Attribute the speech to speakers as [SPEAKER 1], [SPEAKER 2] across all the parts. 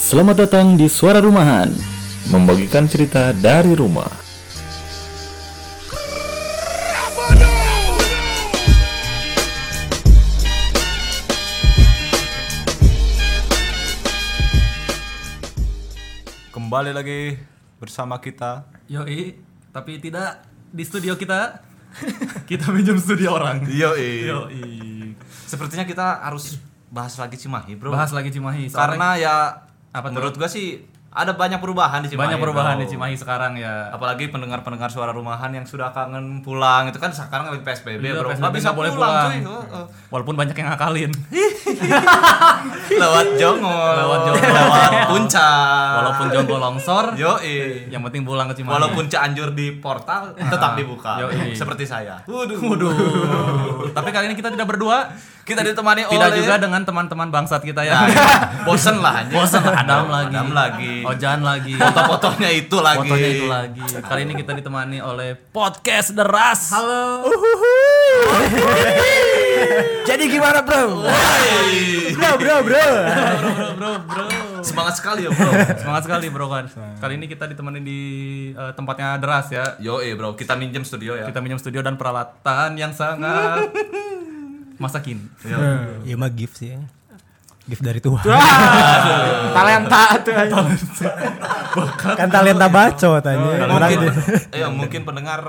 [SPEAKER 1] Selamat datang di Suara Rumahan, membagikan cerita dari rumah.
[SPEAKER 2] Kembali lagi bersama kita.
[SPEAKER 3] Yoi, tapi tidak di studio kita. kita pinjam studio orang.
[SPEAKER 2] Yoi.
[SPEAKER 3] Yoi.
[SPEAKER 2] Sepertinya kita harus bahas lagi Cimahi, Bro.
[SPEAKER 3] Bahas lagi Cimahi.
[SPEAKER 2] karena
[SPEAKER 3] soalnya
[SPEAKER 2] ya
[SPEAKER 3] Apa tuh?
[SPEAKER 2] menurut gua sih ada banyak perubahan di Cimahi.
[SPEAKER 3] banyak perubahan
[SPEAKER 2] bro.
[SPEAKER 3] di Cimahi sekarang ya.
[SPEAKER 2] Apalagi pendengar-pendengar suara rumahan yang sudah kangen pulang itu kan sekarang lagi PSBB,
[SPEAKER 3] Iya,
[SPEAKER 2] Bro.
[SPEAKER 3] PSBB
[SPEAKER 2] Nggak bisa
[SPEAKER 3] nggak boleh
[SPEAKER 2] pulang,
[SPEAKER 3] pulang. Iya.
[SPEAKER 2] cuy. Heeh.
[SPEAKER 3] Walaupun banyak yang ngakalin.
[SPEAKER 2] Lewat Jongol,
[SPEAKER 3] Lewat Jongol.
[SPEAKER 2] lewat Puncak.
[SPEAKER 3] Walaupun jonggol longsor, eh,
[SPEAKER 2] Yoi.
[SPEAKER 3] yang penting pulang ke Cimahi.
[SPEAKER 2] Walaupun Cianjur di portal tetap dibuka
[SPEAKER 3] Yoi.
[SPEAKER 2] seperti saya.
[SPEAKER 3] Waduh. tapi kali ini kita tidak berdua.
[SPEAKER 2] Kita ditemani
[SPEAKER 3] Tidak
[SPEAKER 2] oleh
[SPEAKER 3] juga dengan teman-teman bangsat kita
[SPEAKER 2] Nah,
[SPEAKER 3] ya.
[SPEAKER 2] ya. bosen lah anjing.
[SPEAKER 3] Bosan Adam lagi.
[SPEAKER 2] Adam lagi.
[SPEAKER 3] Ojan lagi.
[SPEAKER 2] foto-fotonya itu lagi.
[SPEAKER 3] Fotonya itu lagi. Kali ini kita ditemani oleh podcast The Ras. Halo.
[SPEAKER 4] Jadi gimana bro? Bro bro bro.
[SPEAKER 3] Bro, bro, bro.
[SPEAKER 2] Semangat sekali ya bro.
[SPEAKER 3] Semangat sekali bro kan. Kali ini kita ditemani di eh, tempatnya Deras ya.
[SPEAKER 2] Yo eh bro, kita minjem studio ya.
[SPEAKER 3] Kita minjem studio dan peralatan yang sangat masa kini.
[SPEAKER 4] Iya mah gift sih. Gift dari Tuhan.
[SPEAKER 5] talenta tuh aja.
[SPEAKER 4] kan talenta bacot aja.
[SPEAKER 3] Iya,
[SPEAKER 2] Kalau
[SPEAKER 4] Orang
[SPEAKER 2] Oh, iya, mungkin,
[SPEAKER 4] tuh.
[SPEAKER 2] ya mungkin pendengar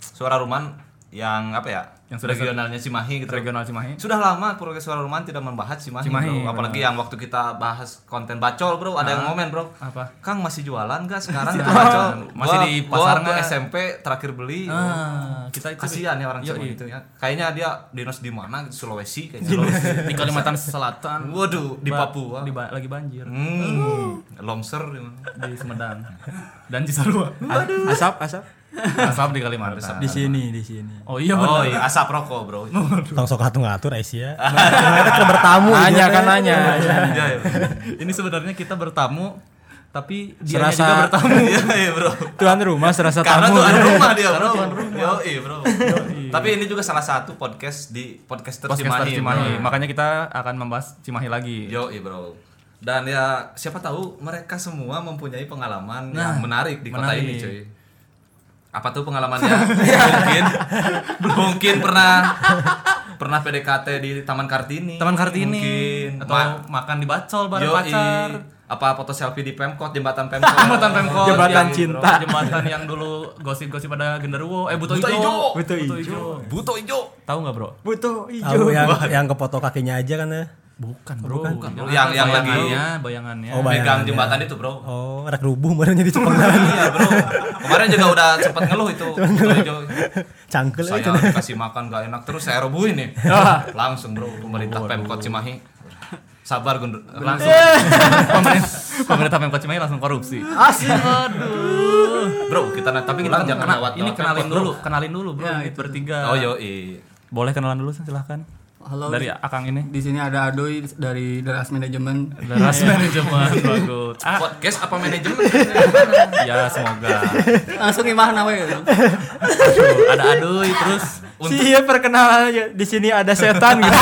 [SPEAKER 2] suara ruman yang apa ya?
[SPEAKER 3] Yang sudah-
[SPEAKER 2] regionalnya Cimahi gitu.
[SPEAKER 3] Regional Cimahi.
[SPEAKER 2] Sudah lama program suara ruman tidak membahas Cimahi,
[SPEAKER 3] Cimahi,
[SPEAKER 2] bro. Apalagi yang waktu kita bahas konten bacol bro, ada yang komen bro.
[SPEAKER 3] Apa?
[SPEAKER 2] Kang masih jualan gak sekarang?
[SPEAKER 3] Masih
[SPEAKER 2] Itu
[SPEAKER 3] jualan.
[SPEAKER 2] bacol.
[SPEAKER 3] Masih
[SPEAKER 2] Gua-
[SPEAKER 3] di
[SPEAKER 2] gua
[SPEAKER 3] pasar
[SPEAKER 2] waktu
[SPEAKER 3] nggak?
[SPEAKER 2] SMP terakhir beli.
[SPEAKER 3] Ah, kita itu
[SPEAKER 2] Kasihan ya orang
[SPEAKER 3] Yoi.
[SPEAKER 2] Cimahi itu ya. Kayaknya dia dinas di mana? Di Sulawesi kayaknya.
[SPEAKER 3] di Kalimantan Selatan.
[SPEAKER 2] Waduh, di
[SPEAKER 3] Ba-
[SPEAKER 2] Papua.
[SPEAKER 3] di ba- lagi banjir
[SPEAKER 2] Hmm, longsor gimana?
[SPEAKER 3] di Sumedang dan Cisarua.
[SPEAKER 5] Asap, asap.
[SPEAKER 3] Asap di Kalimantan.
[SPEAKER 5] Di sini, di sini.
[SPEAKER 3] Oh iya
[SPEAKER 2] Oh
[SPEAKER 3] benar.
[SPEAKER 2] iya, asap rokok bro.
[SPEAKER 4] Tong sok ngatur ngatur Aisyah. Mereka tuh bertamu.
[SPEAKER 5] Nanya
[SPEAKER 4] gitu.
[SPEAKER 5] kan nanya.
[SPEAKER 2] Iya ya.
[SPEAKER 3] Ini sebenarnya kita bertamu tapi dia
[SPEAKER 5] Serasa-
[SPEAKER 3] juga bertamu.
[SPEAKER 2] Iya iya bro.
[SPEAKER 5] Tuan rumah serasa
[SPEAKER 2] Karena
[SPEAKER 5] tamu. ya.
[SPEAKER 2] tuan rumah dia bro. Yo iya bro. Tapi ini juga salah satu podcast Nah. di podcaster
[SPEAKER 3] Podcaster
[SPEAKER 2] Cimahi.
[SPEAKER 3] Cimahi.
[SPEAKER 2] bro.
[SPEAKER 3] Makanya kita akan membahas Cimahi lagi.
[SPEAKER 2] Yo iya bro. Dan ya siapa tahu mereka semua mempunyai pengalaman yang menarik di kota
[SPEAKER 3] Nah,
[SPEAKER 2] ini
[SPEAKER 3] menarik.
[SPEAKER 2] cuy. Apa tuh pengalamannya? Ya, mungkin mungkin pernah pernah PDKT di Taman Kartini.
[SPEAKER 3] Taman Kartini
[SPEAKER 2] Mungkin.
[SPEAKER 3] atau
[SPEAKER 2] Ma-
[SPEAKER 3] makan di bacol bareng
[SPEAKER 2] Yoi.
[SPEAKER 3] pacar.
[SPEAKER 2] apa foto selfie di Pemkot jembatan Pemkot
[SPEAKER 3] Jembatan Pemkot
[SPEAKER 5] Jembatan
[SPEAKER 3] yang-
[SPEAKER 5] cinta.
[SPEAKER 3] Jembatan yang dulu gosip-gosip pada genderuwo Eh butuh
[SPEAKER 2] Buto Ijo.
[SPEAKER 3] hijau
[SPEAKER 5] Butuh ijo.
[SPEAKER 2] buto ijo
[SPEAKER 3] Tahu nggak bro?
[SPEAKER 4] Tahu
[SPEAKER 5] Butuh hijau.
[SPEAKER 4] yang yang kepotong kakinya aja kan ya.
[SPEAKER 3] Bukan bro Bukan.
[SPEAKER 2] Yang- yang lagi-
[SPEAKER 3] bayangannya, bayangannya
[SPEAKER 4] Oh, baik.
[SPEAKER 2] pegang
[SPEAKER 4] Bayangan,
[SPEAKER 2] jembatan itu bro
[SPEAKER 4] Oh, rek rubuh barunya di Jepang kan.
[SPEAKER 2] iya bro kemarin juga udah sempat ngeluh itu Buto Ijo
[SPEAKER 4] Cangkel
[SPEAKER 2] saya
[SPEAKER 4] aja.
[SPEAKER 2] dikasih makan gak enak terus saya rebuhin nih
[SPEAKER 5] Ya.
[SPEAKER 2] langsung bro pemerintah Pemkot Cimahi sabar gundur langsung
[SPEAKER 3] Pemerintah pemerintah Pemkot Cimahi langsung korupsi. Asli aduh.
[SPEAKER 2] bro kita na- tapi kita
[SPEAKER 3] Ulang,
[SPEAKER 2] jangan
[SPEAKER 3] kena-
[SPEAKER 2] lewat
[SPEAKER 3] ini
[SPEAKER 2] lewat
[SPEAKER 3] kenalin
[SPEAKER 2] Pemkot,
[SPEAKER 3] dulu, kenalin dulu bro, ini bertiga.
[SPEAKER 2] bro. oh yo i
[SPEAKER 3] Ya, Boleh kenalan dulu silahkan.
[SPEAKER 5] Halo.
[SPEAKER 3] Dari Akang ini.
[SPEAKER 5] Di sini ada Adoy dari Deras Manajemen.
[SPEAKER 3] Deras manajemen bagus. Ah,
[SPEAKER 2] podcast apa manajemen
[SPEAKER 3] ya semoga.
[SPEAKER 5] Langsung gimana we?
[SPEAKER 3] Aduh, ada aduy terus
[SPEAKER 5] Iya perkenalan aja. Di sini ada setan gitu.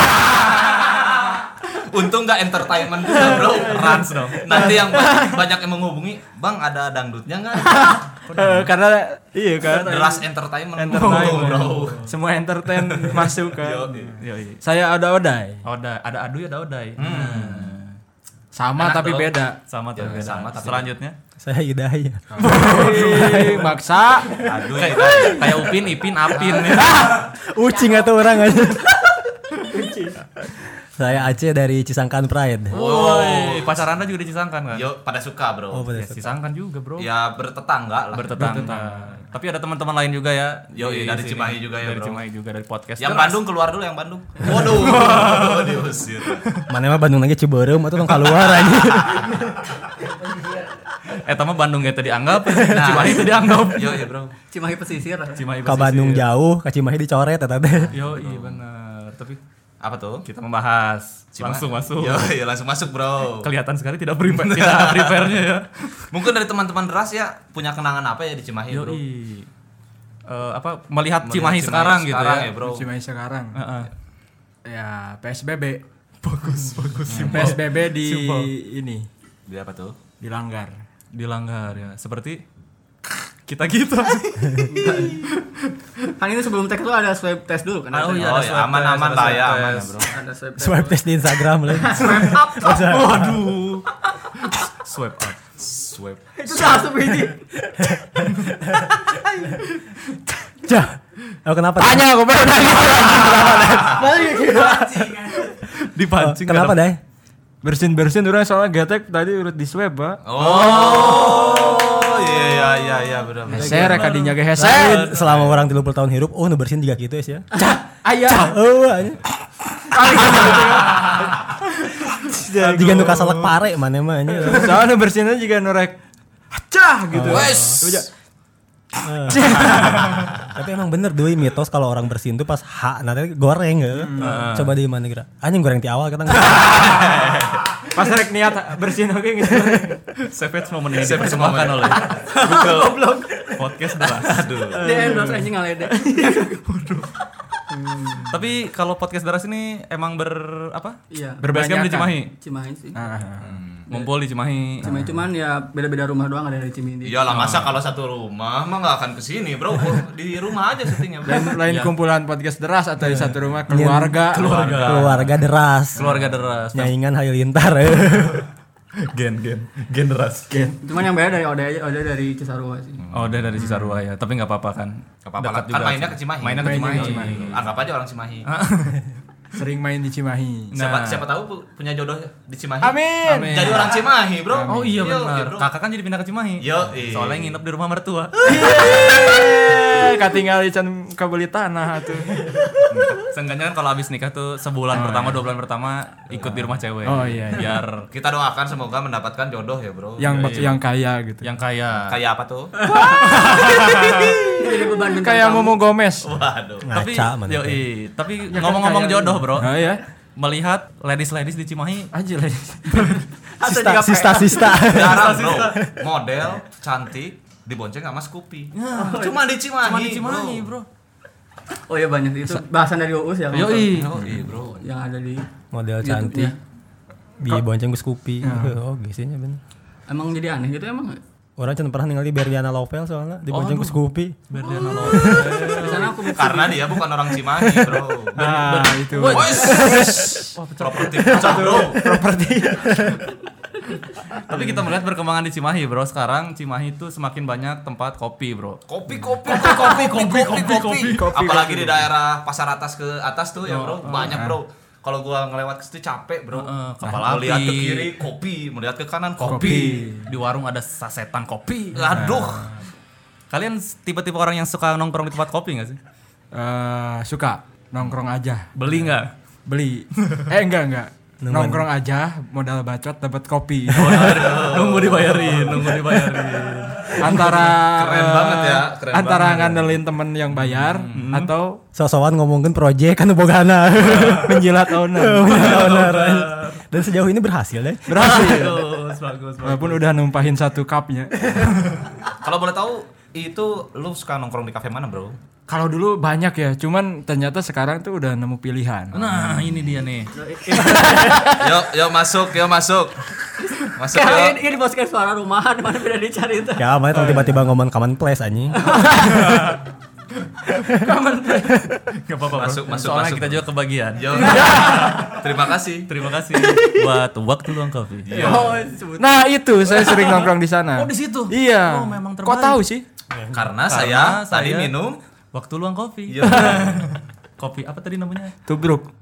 [SPEAKER 2] untung nggak entertainment juga bro
[SPEAKER 3] Rans dong.
[SPEAKER 2] nanti yang banyak yang menghubungi bang ada dangdutnya nggak
[SPEAKER 5] Eh, Karena iya kan.
[SPEAKER 2] deras entertainment,
[SPEAKER 5] Entertainment.
[SPEAKER 2] bro
[SPEAKER 5] Semua entertain masuk
[SPEAKER 2] Yo,
[SPEAKER 5] kan.
[SPEAKER 2] i.
[SPEAKER 3] Yoi.
[SPEAKER 5] Saya ada Oday.
[SPEAKER 3] Oda, ada aduy ada odai. Hmm.
[SPEAKER 5] Sama
[SPEAKER 2] Enak
[SPEAKER 5] tapi
[SPEAKER 2] tuh.
[SPEAKER 5] beda.
[SPEAKER 3] Sama tuh.
[SPEAKER 2] Ya,
[SPEAKER 3] beda.
[SPEAKER 2] sama tapi-
[SPEAKER 3] Selanjutnya
[SPEAKER 4] Saya Hidayah.
[SPEAKER 5] Ih, Maksa.
[SPEAKER 2] aduh
[SPEAKER 3] kayak kayak Upin, Ipin, Apin.
[SPEAKER 5] Oh.
[SPEAKER 4] Ucing atau orang aja. Saya Aceh dari Cisangkan Pride.
[SPEAKER 3] Woi, pacar Anda juga di Cisangkan kan?
[SPEAKER 2] yo pada suka bro
[SPEAKER 4] Oh,
[SPEAKER 2] Iya.
[SPEAKER 3] Ya,
[SPEAKER 4] betul.
[SPEAKER 3] Cisangkan juga, Bro.
[SPEAKER 2] ya bertetangga lah
[SPEAKER 3] Bertetangga. Tapi ada teman-teman lain juga ya.
[SPEAKER 2] Yo,
[SPEAKER 3] di
[SPEAKER 2] iya, dari
[SPEAKER 3] sini.
[SPEAKER 2] Cimahi juga ya, Bro.
[SPEAKER 3] Dari Cimahi juga dari podcast.
[SPEAKER 2] yang
[SPEAKER 3] Terus,
[SPEAKER 2] Bandung keluar dulu yang Bandung waduh diusir
[SPEAKER 4] Mana mah Bandung lagi Ciberem atau tong keluar aja.
[SPEAKER 3] eh tama Bandung itu dianggap, Cimahi itu dianggap.
[SPEAKER 2] Nah. yo iya bro
[SPEAKER 5] Cimahi pesisir.
[SPEAKER 3] Cimahi
[SPEAKER 5] Iya.
[SPEAKER 4] Ke Bandung jauh, ke Cimahi dicoret eta teh.
[SPEAKER 3] Yo,
[SPEAKER 2] Oh.
[SPEAKER 3] iya benar. Tapi
[SPEAKER 2] apa tuh
[SPEAKER 3] kita membahas langsung masuk.
[SPEAKER 2] yo iya langsung masuk bro
[SPEAKER 3] Kelihatan sekali tidak prepare, tidak prepare-nya ya.
[SPEAKER 2] mungkin dari teman-teman deras ya punya kenangan apa ya di Cimahi
[SPEAKER 3] Yo, iya.
[SPEAKER 2] bro
[SPEAKER 3] Eh, apa melihat,
[SPEAKER 2] Melihat
[SPEAKER 3] Cimahi, sekarang, gitu ya.
[SPEAKER 2] sekarang ya, bro
[SPEAKER 5] Cimahi sekarang.
[SPEAKER 3] Heeh.
[SPEAKER 5] Ya PSBB.
[SPEAKER 3] Bagus, bagus.
[SPEAKER 5] PSBB di ini
[SPEAKER 2] Dia apa tuh?
[SPEAKER 4] Dilanggar.
[SPEAKER 3] dilanggar ya seperti kita gitu
[SPEAKER 6] Kan ini sebelum tag tuh ada swab test dulu kan?
[SPEAKER 3] Oh,
[SPEAKER 6] ada-
[SPEAKER 3] iya,
[SPEAKER 2] oh
[SPEAKER 3] ada
[SPEAKER 2] ya
[SPEAKER 3] swab test,
[SPEAKER 2] aman-aman
[SPEAKER 3] ada
[SPEAKER 2] lah
[SPEAKER 3] swab
[SPEAKER 2] ya, aman
[SPEAKER 3] test.
[SPEAKER 2] lah, bro.
[SPEAKER 6] Ada swab test.
[SPEAKER 7] Swipe test di Instagram lah.
[SPEAKER 6] Swipe up.
[SPEAKER 3] waduh swipe up swipe
[SPEAKER 6] Itu langsung ini.
[SPEAKER 7] Cah. Oh, kenapa?
[SPEAKER 4] Tanya aku baru nanya.
[SPEAKER 6] Balik.
[SPEAKER 7] Oh,
[SPEAKER 3] dipancing
[SPEAKER 7] kenapa
[SPEAKER 3] kadang-
[SPEAKER 7] deh?
[SPEAKER 5] Bersin bersin orang soalnya getek tadi urut di swab pak.
[SPEAKER 2] Oh, iya iya iya iya benar. benar.
[SPEAKER 5] Heser kadinya ge
[SPEAKER 7] Lain,
[SPEAKER 5] heser.
[SPEAKER 7] selama orang 30 tahun hirup, oh nu bersin juga gitu ya.
[SPEAKER 5] Ayah.
[SPEAKER 7] Oh, anjing. Jika nu kasalak pare mana mah anjing.
[SPEAKER 5] Soalnya bersinnya juga norek. Cah gitu.
[SPEAKER 7] Tapi emang bener doi mitos kalau orang bersin tuh pas H nanti goreng ya. Coba di mana kira? Anjing goreng di awal kita enggak.
[SPEAKER 5] Pas rek niat bersin oke gitu.
[SPEAKER 3] Savage momen ini dipersembahkan oleh Google Podcast Deras.
[SPEAKER 6] Dia endorse anjing ngalede.
[SPEAKER 3] Tapi kalau podcast Deras ini emang ber apa?
[SPEAKER 6] Iya.
[SPEAKER 3] Berbasecamp di Cimahi.
[SPEAKER 6] Cimahi sih.
[SPEAKER 3] Ngumpul di Cimahi.
[SPEAKER 6] Cimahi cuman ya beda-beda rumah doang ada dari Cimindi.
[SPEAKER 2] Iyalah Iya masa kalau satu rumah mah nggak akan kesini bro Oh, di rumah aja syutingnya bro.
[SPEAKER 5] Lain, lain
[SPEAKER 2] Iya.
[SPEAKER 5] kumpulan podcast deras atau di satu rumah keluarga.
[SPEAKER 3] Iya, Keluarga.
[SPEAKER 7] Keluarga deras.
[SPEAKER 3] Keluarga Deras.
[SPEAKER 7] Nyaingan halilintar. ya.
[SPEAKER 3] Gen gen gen Deras.
[SPEAKER 6] Cuman yang beda dari Ode Ode dari Cisarua sih.
[SPEAKER 3] Oh, udah dari Cisarua ya, tapi nggak apa-apa kan.
[SPEAKER 2] Gak apa-apa lah, kan
[SPEAKER 3] Dekat juga.
[SPEAKER 2] mainnya ke Cimahi.
[SPEAKER 3] Mainnya ke Cimahi. Ah.
[SPEAKER 2] Anggap aja orang Cimahi.
[SPEAKER 5] Sering main di Cimahi.
[SPEAKER 2] Siapa,
[SPEAKER 3] Nah.
[SPEAKER 2] siapa tahu pu- punya jodoh di Cimahi.
[SPEAKER 5] Amin.
[SPEAKER 3] Amin.
[SPEAKER 2] Jadi orang Cimahi, Bro.
[SPEAKER 3] Oh iya
[SPEAKER 2] Yo, iya,
[SPEAKER 3] benar.
[SPEAKER 2] bro.
[SPEAKER 3] Kakak kan jadi pindah ke Cimahi.
[SPEAKER 2] Yo, iya.
[SPEAKER 3] Soalnya nginep di rumah mertua.
[SPEAKER 5] Yeay, Katinggal can kabeli tanah tuh. Ah,
[SPEAKER 3] Seenggaknya kan kalau habis nikah tuh sebulan pertama, dua bulan pertama ikut di rumah cewek.
[SPEAKER 5] iya. Oh, iya, iya.
[SPEAKER 3] Biar iya,
[SPEAKER 2] Kita doakan semoga mendapatkan jodoh ya, Bro.
[SPEAKER 5] Yang yang kaya gitu.
[SPEAKER 3] yang kaya.
[SPEAKER 2] kayak apa tuh?
[SPEAKER 6] Jadi beban bintang
[SPEAKER 5] Kayak
[SPEAKER 6] tamu.
[SPEAKER 5] Momo Gomez.
[SPEAKER 2] Waduh.
[SPEAKER 3] Tapi
[SPEAKER 7] Ngaca mana.
[SPEAKER 3] yo, iya.
[SPEAKER 7] tuh.
[SPEAKER 3] tapi ngomong-ngomong jodoh, Bro.
[SPEAKER 5] kan Oh ya.
[SPEAKER 3] Melihat ladies-ladies di Cimahi
[SPEAKER 5] Aja
[SPEAKER 6] Atau
[SPEAKER 7] Sista
[SPEAKER 6] juga
[SPEAKER 7] sista sista.
[SPEAKER 2] Jarang, Bro. Model cantik dibonceng sama Scoopy. Cuma di Cimahi.
[SPEAKER 3] Ya, Cuma di Cimahi, Bro.
[SPEAKER 6] pe- Oh iya banyak itu bahasan dari Uus ya. kalau nggak
[SPEAKER 3] Yoi.
[SPEAKER 2] Bro.
[SPEAKER 5] iya.
[SPEAKER 2] Yoi, Bro.
[SPEAKER 6] salah. Yang ada di
[SPEAKER 7] Model
[SPEAKER 6] YouTube-nya.
[SPEAKER 7] cantik. Di bonceng gus kupi. Oh, gisinya bener.
[SPEAKER 6] Emang jadi aneh gitu emang.
[SPEAKER 7] Orang cuman pernah ningali Berliana Lovell soalnya di bonceng gus kupi.
[SPEAKER 3] Berdiana
[SPEAKER 6] Di sana aku
[SPEAKER 2] Karena dia bukan orang Cimahi, Bro.
[SPEAKER 3] Ah,
[SPEAKER 5] Nah, itu.
[SPEAKER 2] Properti pecah, Bro.
[SPEAKER 3] Tapi kita melihat perkembangan di Cimahi, Bro. Sekarang Cimahi itu semakin banyak tempat kopi, Bro.
[SPEAKER 2] Kopi, kopi, kopi, kopi, kopi, kopi, kopi. Apalagi di daerah pasar atas ke atas tuh ya
[SPEAKER 3] Oh,
[SPEAKER 2] bro, banyak bro. Kalau gua ngelewat ke situ capek bro.
[SPEAKER 3] Heeh, Oh, kapal
[SPEAKER 2] Kepala
[SPEAKER 3] api.
[SPEAKER 2] lihat ke kiri kopi, melihat ke kanan kopi.
[SPEAKER 3] Kopi. Di warung ada sasetan kopi. Nah,
[SPEAKER 2] Aduh.
[SPEAKER 3] Kalian tipe-tipe orang yang suka nongkrong di tempat kopi gak iya sih?
[SPEAKER 5] Eh, suka nongkrong aja, Iya.
[SPEAKER 3] Beli nggak?
[SPEAKER 5] beli. Eh enggak enggak. Nongkrong aja, modal bacot dapat kopi.
[SPEAKER 3] nunggu dibayarin, nunggu dibayarin.
[SPEAKER 5] antara
[SPEAKER 2] Keren
[SPEAKER 3] Ah,
[SPEAKER 5] eh,
[SPEAKER 2] banget ya, keren
[SPEAKER 5] antara
[SPEAKER 2] banget.
[SPEAKER 5] ngandelin temen yang bayar
[SPEAKER 3] Mm-hmm.
[SPEAKER 5] atau
[SPEAKER 7] Sosokan ngomongin proyek kan bogana.
[SPEAKER 5] menjilat owner.
[SPEAKER 7] Benar. Dan sejauh ini berhasil deh.
[SPEAKER 5] Berhasil.
[SPEAKER 3] Bagus, bagus.
[SPEAKER 5] Walaupun udah numpahin satu cupnya.
[SPEAKER 2] Kalau boleh tahu itu lu suka nongkrong di kafe mana bro?
[SPEAKER 5] Kalau dulu banyak ya, cuman ternyata sekarang tuh udah nemu pilihan.
[SPEAKER 3] Nah, ini dia nih.
[SPEAKER 2] Yuk, yuk masuk, yuk masuk. Masuk
[SPEAKER 6] Kayak
[SPEAKER 2] yuk.
[SPEAKER 6] ini dimasukin iya, suara rumahan mana beda dicari itu.
[SPEAKER 7] Ya, mana tong tiba-tiba ngomong common place anjing.
[SPEAKER 3] Gak apa-apa,
[SPEAKER 2] Masuk,
[SPEAKER 3] Bro.
[SPEAKER 2] masuk,
[SPEAKER 3] Soalnya
[SPEAKER 2] masuk,
[SPEAKER 3] kita
[SPEAKER 2] Bro.
[SPEAKER 3] juga kebagian.
[SPEAKER 2] Yuk. Terima kasih.
[SPEAKER 3] Terima kasih buat waktu luang kopi.
[SPEAKER 6] Oh, sebut.
[SPEAKER 5] Nah, itu saya sering nongkrong di sana.
[SPEAKER 3] Oh, di situ?
[SPEAKER 5] Iya.
[SPEAKER 3] Oh, memang
[SPEAKER 5] Kok
[SPEAKER 3] terbaik.
[SPEAKER 5] tahu sih?
[SPEAKER 2] Karena, saya, tadi
[SPEAKER 3] saya-
[SPEAKER 2] minum.
[SPEAKER 3] Waktu luang kopi.
[SPEAKER 5] Iya.
[SPEAKER 2] Yuk.
[SPEAKER 3] Kopi apa tadi namanya?
[SPEAKER 5] Tubruk.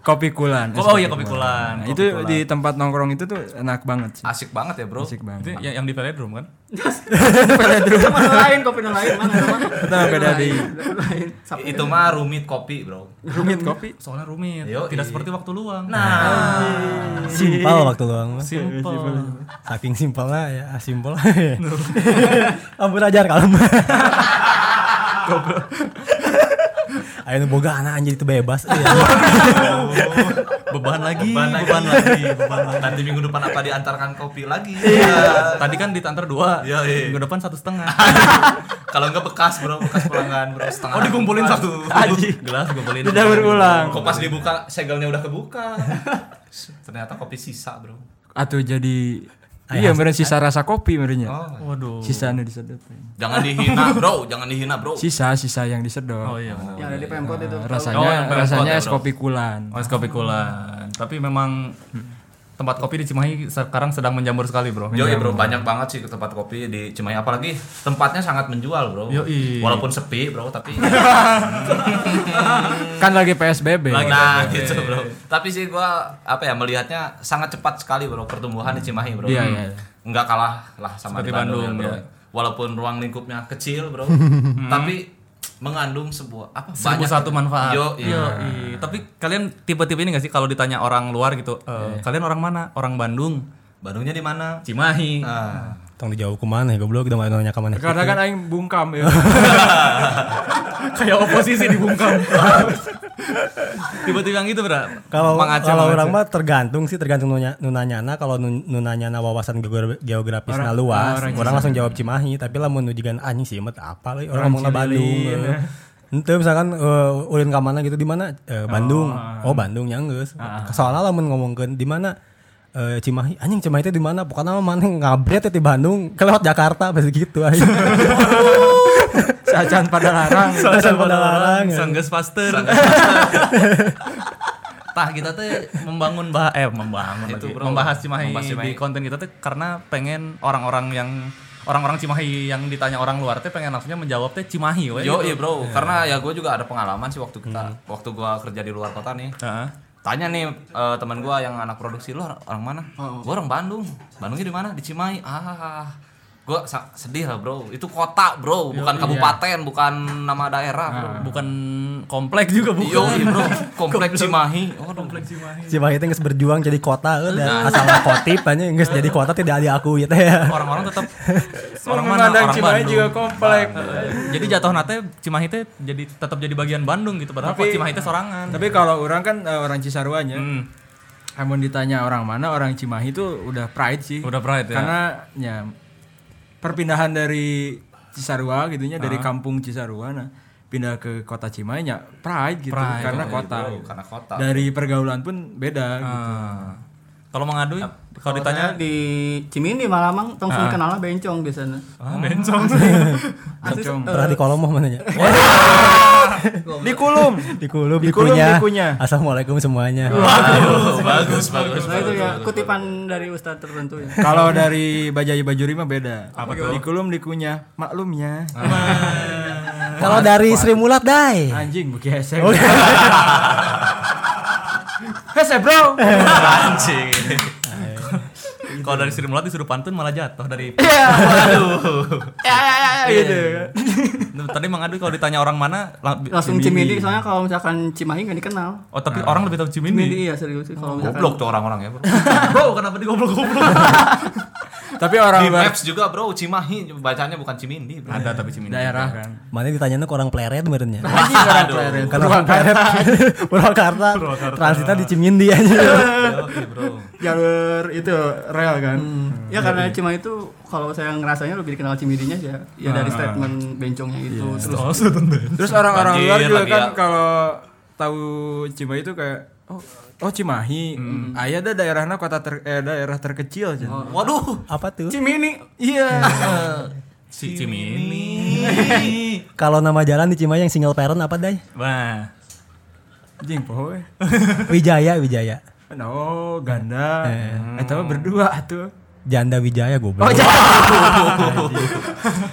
[SPEAKER 5] kopi kulan.
[SPEAKER 3] Oh, oh iya kopi kulan. Kopi
[SPEAKER 5] Nah, itu
[SPEAKER 3] kulan.
[SPEAKER 5] di tempat nongkrong itu tuh enak banget sih.
[SPEAKER 2] Asik banget ya bro.
[SPEAKER 5] Asik
[SPEAKER 3] itu
[SPEAKER 5] banget.
[SPEAKER 3] yang, yang di Velodrome kan?
[SPEAKER 6] Mana lain kopi yang lain mana mana.
[SPEAKER 5] Kita beda di
[SPEAKER 6] Lain. Sapi.
[SPEAKER 2] Itu mah rumit kopi bro.
[SPEAKER 5] rumit kopi.
[SPEAKER 3] Soalnya rumit,
[SPEAKER 2] Yoi.
[SPEAKER 3] tidak seperti waktu luang.
[SPEAKER 2] Nah.
[SPEAKER 7] Simpel waktu luang. mah.
[SPEAKER 3] simple.
[SPEAKER 7] Saking simpelnya ya, ah, simpel. Ampun ajar kalem. Ayo boga anak anjing itu bebas. Iya.
[SPEAKER 3] Oh, beban lagi,
[SPEAKER 2] Beban
[SPEAKER 3] beban
[SPEAKER 2] lagi.
[SPEAKER 3] lagi, beban lagi.
[SPEAKER 2] Nanti minggu depan apa diantarkan kopi lagi?
[SPEAKER 3] Tadi kan ditantar dua,
[SPEAKER 2] Iya, iya.
[SPEAKER 3] minggu depan satu setengah.
[SPEAKER 2] Kalau enggak bekas bro, bekas pelanggan bro setengah.
[SPEAKER 3] Oh dikumpulin
[SPEAKER 2] Bekas.
[SPEAKER 3] satu, gelas dikumpulin.
[SPEAKER 4] Udah berulang.
[SPEAKER 2] Kok pas dibuka segelnya udah kebuka. Ternyata kopi sisa bro.
[SPEAKER 5] Atau jadi Iya, meren sisa rasa kopi merenya.
[SPEAKER 2] Oh.
[SPEAKER 3] Waduh.
[SPEAKER 5] Sisa anu disedot.
[SPEAKER 2] Jangan dihina bro, jangan dihina bro.
[SPEAKER 5] Sisa sisa yang disedot.
[SPEAKER 3] Oh iya. benar.
[SPEAKER 6] Yang ada di Pemkot itu.
[SPEAKER 5] Nah,
[SPEAKER 3] Oh, yang
[SPEAKER 5] rasanya
[SPEAKER 3] paling
[SPEAKER 5] rasanya
[SPEAKER 3] kuat ya,
[SPEAKER 5] es
[SPEAKER 3] Bro.
[SPEAKER 5] kopi kulan.
[SPEAKER 3] Oh, es kopi kulan. Tapi memang tempat kopi di Cimahi sekarang sedang menjamur sekali, Bro.
[SPEAKER 5] Iya.
[SPEAKER 2] Yo bro, banyak banget sih ke tempat kopi di Cimahi apalagi tempatnya sangat menjual bro.
[SPEAKER 3] Yoi.
[SPEAKER 2] Walaupun sepi bro, tapi
[SPEAKER 5] Kan lagi PSBB.
[SPEAKER 2] nah gitu bro. Tapi sih gua apa ya melihatnya sangat cepat sekali bro pertumbuhan di Cimahi bro. Hmm.
[SPEAKER 5] Iya, iya.
[SPEAKER 2] Nggak kalah lah sama
[SPEAKER 3] Seperti
[SPEAKER 2] di Bandung,
[SPEAKER 3] Bandung,
[SPEAKER 2] ya, bro.
[SPEAKER 3] iya.
[SPEAKER 2] Walaupun ruang lingkupnya kecil bro, tapi mengandung sebuah apa
[SPEAKER 3] Seribu satu manfaat.
[SPEAKER 2] Yo,
[SPEAKER 3] Yo, iya. Tapi kalian tipe-tipe ini gak sih kalau ditanya orang luar gitu, "Eh,
[SPEAKER 5] Iya.
[SPEAKER 3] kalian orang mana? Orang Bandung,
[SPEAKER 2] Bandungnya di mana?
[SPEAKER 3] Cimahi.
[SPEAKER 2] Ah.
[SPEAKER 7] Tong dijauh ke mana? Goblok udah mau nanya ke mana.
[SPEAKER 5] Karena kan aing bungkam ya.
[SPEAKER 3] Kayak oposisi dibungkam. tipe-tipe yang gitu, Bro.
[SPEAKER 7] Kalau
[SPEAKER 3] Mang Aceh,
[SPEAKER 7] kalau
[SPEAKER 3] Mang
[SPEAKER 7] orang
[SPEAKER 3] Aceh.
[SPEAKER 7] mah tergantung sih tergantung nuna, nunanyana kalau nun- nunanyana wawasan geogra- geografis nah luas orang, langsung jawab Cimahi tapi lah mau nujikan anjing sih emet apa lah orang ngomong Bandung eh. Ente misalkan eh, ulin ke mana gitu di mana Eh, Bandung oh, Bandung ya geus soalnya lah mun ngomongkeun di mana eh, Cimahi anjing Cimahi itu di mana pokoknya mah mana ngabret ya di Bandung kelewat Jakarta pasti gitu anjing
[SPEAKER 5] Sajan pada larang.
[SPEAKER 7] Sajan pada larang ya.
[SPEAKER 3] Sanggeus pasteur. Tah kita tuh membangun bah eh membangun
[SPEAKER 2] Itu,
[SPEAKER 3] lagi.
[SPEAKER 2] bro.
[SPEAKER 3] membahas Cimahi,
[SPEAKER 2] Membahas Cimahi.
[SPEAKER 3] di konten kita tuh karena pengen orang-orang yang orang-orang Cimahi yang ditanya orang luar tuh pengen langsungnya menjawab tuh Cimahi we.
[SPEAKER 2] Yo, iya bro, karena ya gue juga ada pengalaman sih waktu kita, waktu gue kerja di luar kota nih.
[SPEAKER 3] Hmm. Heeh.
[SPEAKER 2] Tanya nih eh, teman gue yang anak produksi lu orang orang mana? Gue orang Bandung. Bandungnya di mana? Di Cimahi. Ah, gue sedih lah bro. Itu kota bro, bukan kabupaten, bukan nama daerah. Bro.
[SPEAKER 3] iya. Nah, Bukan komplek juga bukan.
[SPEAKER 2] Yo, iya bro, komplek Cimahi. Oh, komplek Cimahi.
[SPEAKER 7] Cimahi itu nggak berjuang jadi kota eh, dan asal kotip anjing nggak jadi kota tidak diakui gitu ya
[SPEAKER 3] Orang-orang tetap orang mana
[SPEAKER 5] Memandang
[SPEAKER 3] orang
[SPEAKER 5] Cimahi
[SPEAKER 3] Bandung. Nah, eh,
[SPEAKER 5] juga komplek.
[SPEAKER 3] Jadi jatuh nate Cimahi teh jadi tetap jadi bagian Bandung gitu padahal kok
[SPEAKER 5] Tapi-
[SPEAKER 3] Cimahi teh sorangan.
[SPEAKER 5] Tapi kalau orang kan eh, orang Cisarua nya.
[SPEAKER 3] Hmm.
[SPEAKER 5] Namun ditanya orang mana, orang Cimahi itu udah pride sih.
[SPEAKER 3] Udah pride ya.
[SPEAKER 5] Karena ya perpindahan dari Cisarua gitunya dari kampung Cisarua nah pindah ke kota Cimahi ya pride gitu
[SPEAKER 3] Pride,
[SPEAKER 5] karena
[SPEAKER 2] Iya,
[SPEAKER 5] kota.
[SPEAKER 2] bro, karena kota.
[SPEAKER 5] Dari pergaulan pun beda gitu.
[SPEAKER 3] Ah. Kalau mengadui kalau ditanya
[SPEAKER 6] Ditanya di Cimini malah mang langsung kenalnya bencong di sana.
[SPEAKER 3] Ah, bencong.
[SPEAKER 6] Asli,
[SPEAKER 5] Bencong.
[SPEAKER 6] eh,
[SPEAKER 7] Pernah di kolom mah mananya?
[SPEAKER 5] Dikulum.
[SPEAKER 7] Dikulub,
[SPEAKER 5] Dikulub,
[SPEAKER 7] dikunyah.
[SPEAKER 5] dikunyah.
[SPEAKER 7] Assalamualaikum semuanya.
[SPEAKER 2] Bagus, bagus, bagus.
[SPEAKER 6] Nah itu ya kutipan dari ustadz tertentu ya.
[SPEAKER 5] Kalau dari Bajai Bajuri mah beda. Apa tuh? Dikulum dikunyah, maklum ya.
[SPEAKER 7] Kalau dari Sri Mulat, Dai.
[SPEAKER 5] Anjing buki hese. hese bro.
[SPEAKER 2] Anjing.
[SPEAKER 5] Iya.
[SPEAKER 3] Kalau dari Sri Mulat disuruh pantun malah jatuh dari Nah, Tadi Mang Adu kalau ditanya orang mana lang-
[SPEAKER 6] Langsung Cimini soalnya kalau misalkan Cimahi nggak dikenal.
[SPEAKER 3] Oh,
[SPEAKER 2] Nah.
[SPEAKER 3] tapi orang lebih tahu Cimindi.
[SPEAKER 6] Cimini iya serius sih kalau misalkan.
[SPEAKER 2] Goblok tuh orang-orang ya bro.
[SPEAKER 3] Bro, kenapa digoblok-goblok?
[SPEAKER 5] Tapi orang
[SPEAKER 2] Di
[SPEAKER 5] luar
[SPEAKER 2] maps juga bro, Cimahi bacanya bukan Cimindi bro.
[SPEAKER 3] Ada tapi Cimindi.
[SPEAKER 5] daerah kan.
[SPEAKER 7] Mana ditanya ke orang pleret merenya.
[SPEAKER 6] Nah,
[SPEAKER 5] Anjing orang
[SPEAKER 2] Aduh.
[SPEAKER 5] Pleret.
[SPEAKER 7] Karena orang pleret Purwakarta, transitnya di Cimindi aja.
[SPEAKER 2] Oke bro.
[SPEAKER 5] jalur itu rel kan.
[SPEAKER 6] Ya karena Cimahi itu kalau saya ngerasanya lebih dikenal Cimidinya ya. Ya dari statement bencongnya itu terus
[SPEAKER 3] Ah. Oh, sudut deh.
[SPEAKER 5] Terus orang-orang
[SPEAKER 2] Banjir
[SPEAKER 5] luar juga
[SPEAKER 2] lagi
[SPEAKER 5] kan
[SPEAKER 2] ya.
[SPEAKER 5] kalau tahu Cimahi itu kayak oh, oh Cimahi.
[SPEAKER 2] Hmm.
[SPEAKER 5] Aya ada daerahnya kota ter, eh, daerah terkecil aja.
[SPEAKER 2] Waduh.
[SPEAKER 7] Apa tuh?
[SPEAKER 5] Cimini. Iya.
[SPEAKER 3] Si Cimindi.
[SPEAKER 7] Kalau nama jalan di Cimahi yang single parent apa, Dai?
[SPEAKER 3] Wah.
[SPEAKER 5] Anjing poho we.
[SPEAKER 7] Wijaya, Wijaya.
[SPEAKER 5] No, ganda. Eh, tapi berdua tuh.
[SPEAKER 7] Janda Wijaya goblok.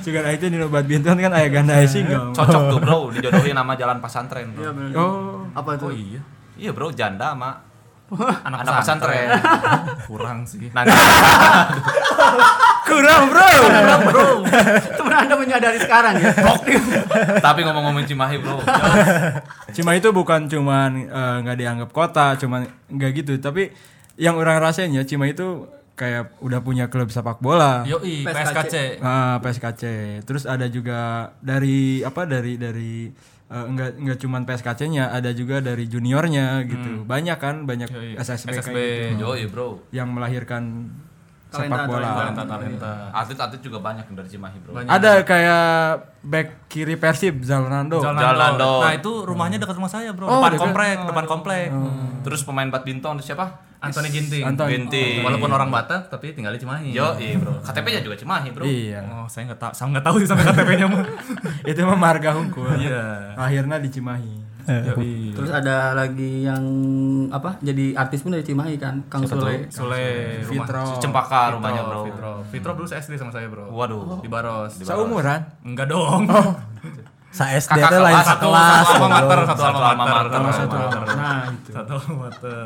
[SPEAKER 5] Juga nah itu di Nobat Bintan kan ayah ganda ayah single.
[SPEAKER 2] Cocok tuh bro, dijodohin nama jalan pesantren bro.
[SPEAKER 6] Iya, bener.
[SPEAKER 5] Oh,
[SPEAKER 6] apa itu?
[SPEAKER 3] Iya.
[SPEAKER 2] Iya bro, janda sama anak, anak pesantren. Nah,
[SPEAKER 3] Kurang sih.
[SPEAKER 2] Nanti
[SPEAKER 5] kurang bro.
[SPEAKER 6] Teman Anda menyadari sekarang ya.
[SPEAKER 2] tapi ngomong-ngomong Cimahi bro,
[SPEAKER 5] Cimahi itu bukan cuman eh, nggak dianggap kota, cuman nggak gitu, tapi yang orang rasain ya Cimahi itu kayak udah punya klub sepak bola.
[SPEAKER 3] Yoi, PSKC.
[SPEAKER 5] Ah, PSKC. Terus ada juga dari apa dari dari eh, enggak enggak cuman PSKC-nya, ada juga dari juniornya gitu. Banyak kan, banyak SSB, kayak
[SPEAKER 3] SSB
[SPEAKER 5] gitu.
[SPEAKER 2] Yo, iya bro.
[SPEAKER 5] yang melahirkan sepak
[SPEAKER 6] Talenta,
[SPEAKER 5] bola.
[SPEAKER 3] talenta talenta
[SPEAKER 2] Atlet-atlet juga banyak yang dari Cimahi, bro.
[SPEAKER 5] Ada kayak back kiri Persib Zalnando.
[SPEAKER 2] Jalando.
[SPEAKER 3] Nah itu rumahnya dekat rumah saya
[SPEAKER 5] Oh,
[SPEAKER 3] bro Depan komplek Depan
[SPEAKER 5] iya.
[SPEAKER 3] komplek
[SPEAKER 2] Terus pemain badminton siapa?
[SPEAKER 3] Anthony Ginting
[SPEAKER 5] Anthony.
[SPEAKER 2] Ginting.
[SPEAKER 3] Walaupun orang Batak Tapi tinggal di Cimahi
[SPEAKER 2] Yo, iya bro. KTP-nya juga Cimahi, bro.
[SPEAKER 5] Iya.
[SPEAKER 3] Oh saya nggak tahu Saya nggak tahu sih sampai KTP-nya mah
[SPEAKER 5] Itu mah marga hukum.
[SPEAKER 3] Iya.
[SPEAKER 5] Lahirnya di Cimahi.
[SPEAKER 6] Terus ada lagi yang apa? Jadi artis pun dari Cimahi kan, Kang Sule.
[SPEAKER 3] Sule rumah
[SPEAKER 5] Fitro.
[SPEAKER 2] Cempaka rumahnya, bro.
[SPEAKER 3] Oh, Fitro Fitro dulu SD sama saya bro
[SPEAKER 2] Waduh.
[SPEAKER 3] Di Baros
[SPEAKER 5] Seumuran. Oh.
[SPEAKER 3] Enggak dong
[SPEAKER 7] Sa SD teh lain sekelas.
[SPEAKER 3] Satu alma
[SPEAKER 7] bro.
[SPEAKER 3] mater Satu alma
[SPEAKER 2] alma
[SPEAKER 3] mater
[SPEAKER 2] mater.
[SPEAKER 3] Satu alma mater.
[SPEAKER 5] Nah, itu.
[SPEAKER 3] Satu alma mater